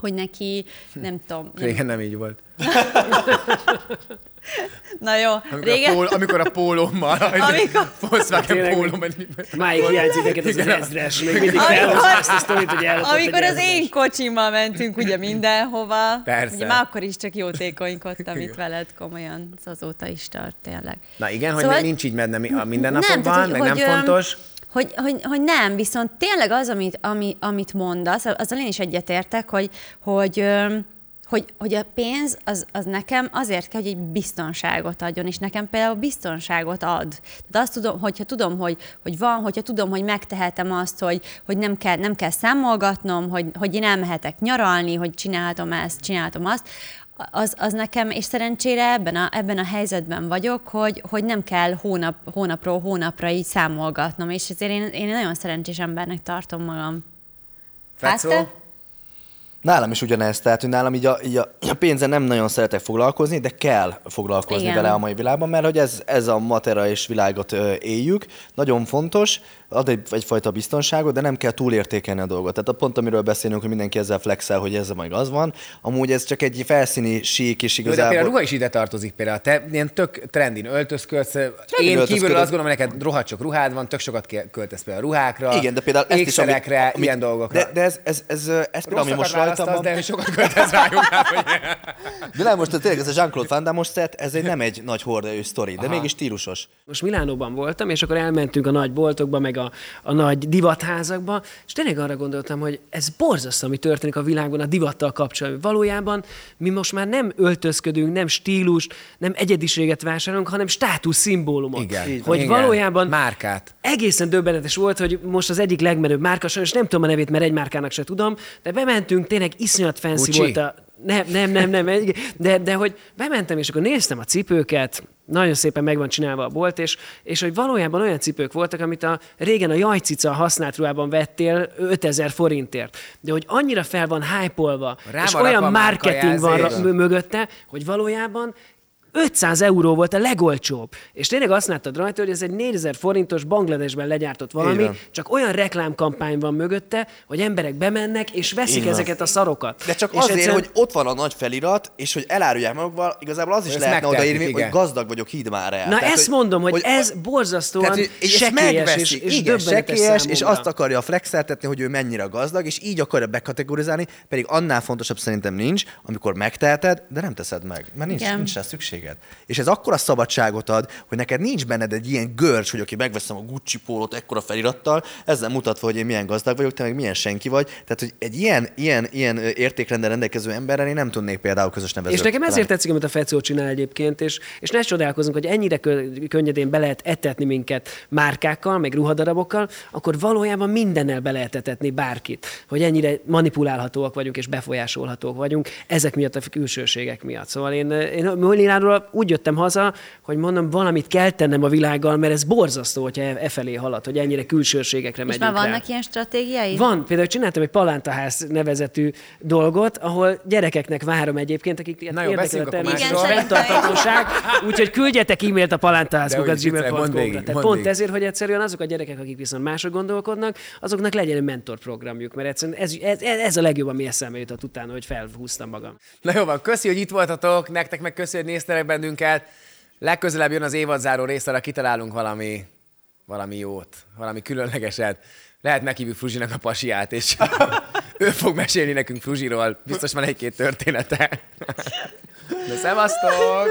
hogy neki, nem tudom, nem,
Régen nem így volt.
na jó,
Amikor,
régen,
A, pól, amikor a pólommal,
Amikor-
amikor... Volkswagen
Tényleg.
pólom, vagy mi-
Máig hiányzik neked az az ezres, még mindig
Amikor-
felhozta azt a sztorit, hogy ellopott egy
amikor az
ezres.
én kocsimmal mentünk ugye mindenhova,
Persze.
ugye már akkor is csak jótékonykodtam itt veled komolyan, ez azóta is tart tényleg.
Na igen, hogy
Szóval-
szóval... nincs így mednem a
nem,
mindennapokban, meg nem
öm,
fontos.
Hogy, hogy, hogy, nem, viszont tényleg az, amit, ami, amit mondasz, azzal én is egyetértek, hogy, hogy, öm, hogy, hogy a pénz az, az nekem azért kell, hogy egy biztonságot adjon, és nekem például biztonságot ad. Tehát azt tudom, hogyha tudom, hogy, hogy van, hogyha tudom, hogy megtehetem azt, hogy, hogy nem, kell, nem kell számolgatnom, hogy, hogy én elmehetek nyaralni, hogy csinálhatom ezt, csinálhatom azt, az, az nekem, és szerencsére ebben a, ebben a helyzetben vagyok, hogy, hogy nem kell hónap, hónapról hónapra így számolgatnom, és ezért én, én nagyon szerencsés embernek tartom magam.
Fecó?
Hát te?
Nálam is ugyanez, tehát hogy nálam így a, így a, a pénzen nem nagyon szeretek foglalkozni, de kell foglalkozni
Igen.
Igen. vele a mai világban, mert hogy ez, ez a matera és világot ö, éljük, nagyon fontos, ad egy, egyfajta biztonságot, de nem kell túlértékelni a dolgot. Tehát a pont, amiről beszélünk, hogy mindenki ezzel flexel, hogy ez meg az van, amúgy ez csak egy felszíni sík, és
Jó, de például a
igazából...
ruha is ide tartozik például. Te ilyen tök trendin öltözködsz. én kívülről azt gondolom, hogy neked rohadt sok ruhád van, tök sokat ke- költesz például ruhákra,
Igen, de például ezt is, amit,
ékszerekre,
amit-
ilyen dolgokra.
De, de ez, ez, ez, ez, ez például,
Rosszakat
ami most rajtam
választasz,
van,
de sokat költesz rájuk.
De nem, most tényleg ez a Jean-Claude Van Damme set, ez egy nem egy nagy hordaerő sztori, de mégis stílusos.
Most Milánóban voltam, és akkor elmentünk a nagy boltokba, meg a, a nagy divatházakba, és tényleg arra gondoltam, hogy ez borzasztó, ami történik a világban a divattal kapcsolatban. Valójában mi most már nem öltözködünk, nem stílust, nem egyediséget vásárolunk, hanem státusz szimbólumot.
Igen. Így van.
Hogy
Igen.
valójában
Márkát.
egészen döbbenetes volt, hogy most az egyik legmenőbb márka, sajnos nem tudom a nevét, mert egy márkának se tudom, de bementünk, tényleg iszonyat fancy
Gucci?
volt a... Nem, nem, nem, nem, egy- de, de hogy bementem, és akkor néztem a cipőket, nagyon szépen meg van csinálva a bolt, és, és hogy valójában olyan cipők voltak, amit a régen a jajcica használt ruhában vettél 5000 forintért. De hogy annyira fel van hype-olva,
Rá
és
van rakva
olyan
a
marketing van ra-
márkajelzés.
mö- mögötte, hogy valójában 500 euró volt a legolcsóbb. És tényleg azt láttad rajta, hogy ez egy 4000 forintos Bangladesben legyártott
Így
valami,
van.
csak olyan reklámkampány van mögötte, hogy emberek bemennek és veszik
Így van.
ezeket a szarokat.
De csak
és
azért,
egyszerűen-
hogy ott van a nagy felirat, és hogy elárulják magukkal, igazából az is
Ezt
lehetne
megtehetik,
odaírni,
igen.
hogy gazdag vagyok, hidd már el.
Na
Tehát,
ezt mondom, hogy, ez borzasztóan
hogy ezt
sekélyes és,
megveszik,
és
igen,
döbbenetes
sekélyes, és
számomra.
azt akarja flexeltetni, hogy ő mennyire gazdag, és így akarja bekategorizálni, pedig annál fontosabb szerintem nincs, amikor megteheted, de nem teszed meg, mert nincs,
Igen.
nincs rá szükséged. És ez akkora szabadságot ad, hogy neked nincs benned egy ilyen görcs, hogy aki megveszem a Gucci pólót ekkora felirattal, ezzel mutatva, hogy én milyen gazdag vagyok, te meg milyen senki vagy. Tehát, hogy egy ilyen, ilyen, ilyen ö, értékrendel rendelkező emberrel én nem tudnék például közös nevezőt.
És nekem ezért
találni.
tetszik, amit a Fecó csinál egyébként, és, és ne csodálkozunk, hogy ennyire kö- könnyedén be lehet etetni minket márkákkal, meg ruhadarabokkal, akkor valójában mindennel be lehet etetni bárkit, hogy ennyire manipulálhatóak vagyunk és befolyásolhatóak vagyunk ezek miatt a külsőségek miatt. Szóval én, én Molináról úgy jöttem haza, hogy mondom, valamit kell tennem a világgal, mert ez borzasztó, hogyha e, e felé halad, hogy ennyire külsőségekre
És
megyünk
már
rá.
vannak ilyen stratégiáid?
Van, például csináltam egy palántaház nevezetű dolgot, ahol gyerekeknek várom egyébként, akik
Na
Na
jó,
jó,
beszéljünk
érdekel a
akkor
természet,
másról. Igen, szerintem.
fenntarthatóság, úgyhogy küldjetek e-mailt a
De
palántaházkukat
úgy viccelek, mondd végig,
gmail.com-ra. Tehát
mondd
pont
végig.
ezért, hogy egyszerűen azok a gyerekek, akik viszont mások gondolkodnak, azoknak legyen egy mentorprogramjuk, mert egyszerűen ez, ez, ez a legjobb, ami eszembe jutott utána, hogy felhúztam magam.
Na jó van, köszi, hogy itt voltatok, nektek meg köszi, hogy néztetek bennünket. Legközelebb jön az évadzáró rész, arra kitalálunk valami, valami jót, valami különlegeset. Lehet meghívjuk Fruzsinak a pasiát, és ő fog mesélni nekünk Fruzsiról. Biztos van egy-két története. Na, szevasztok!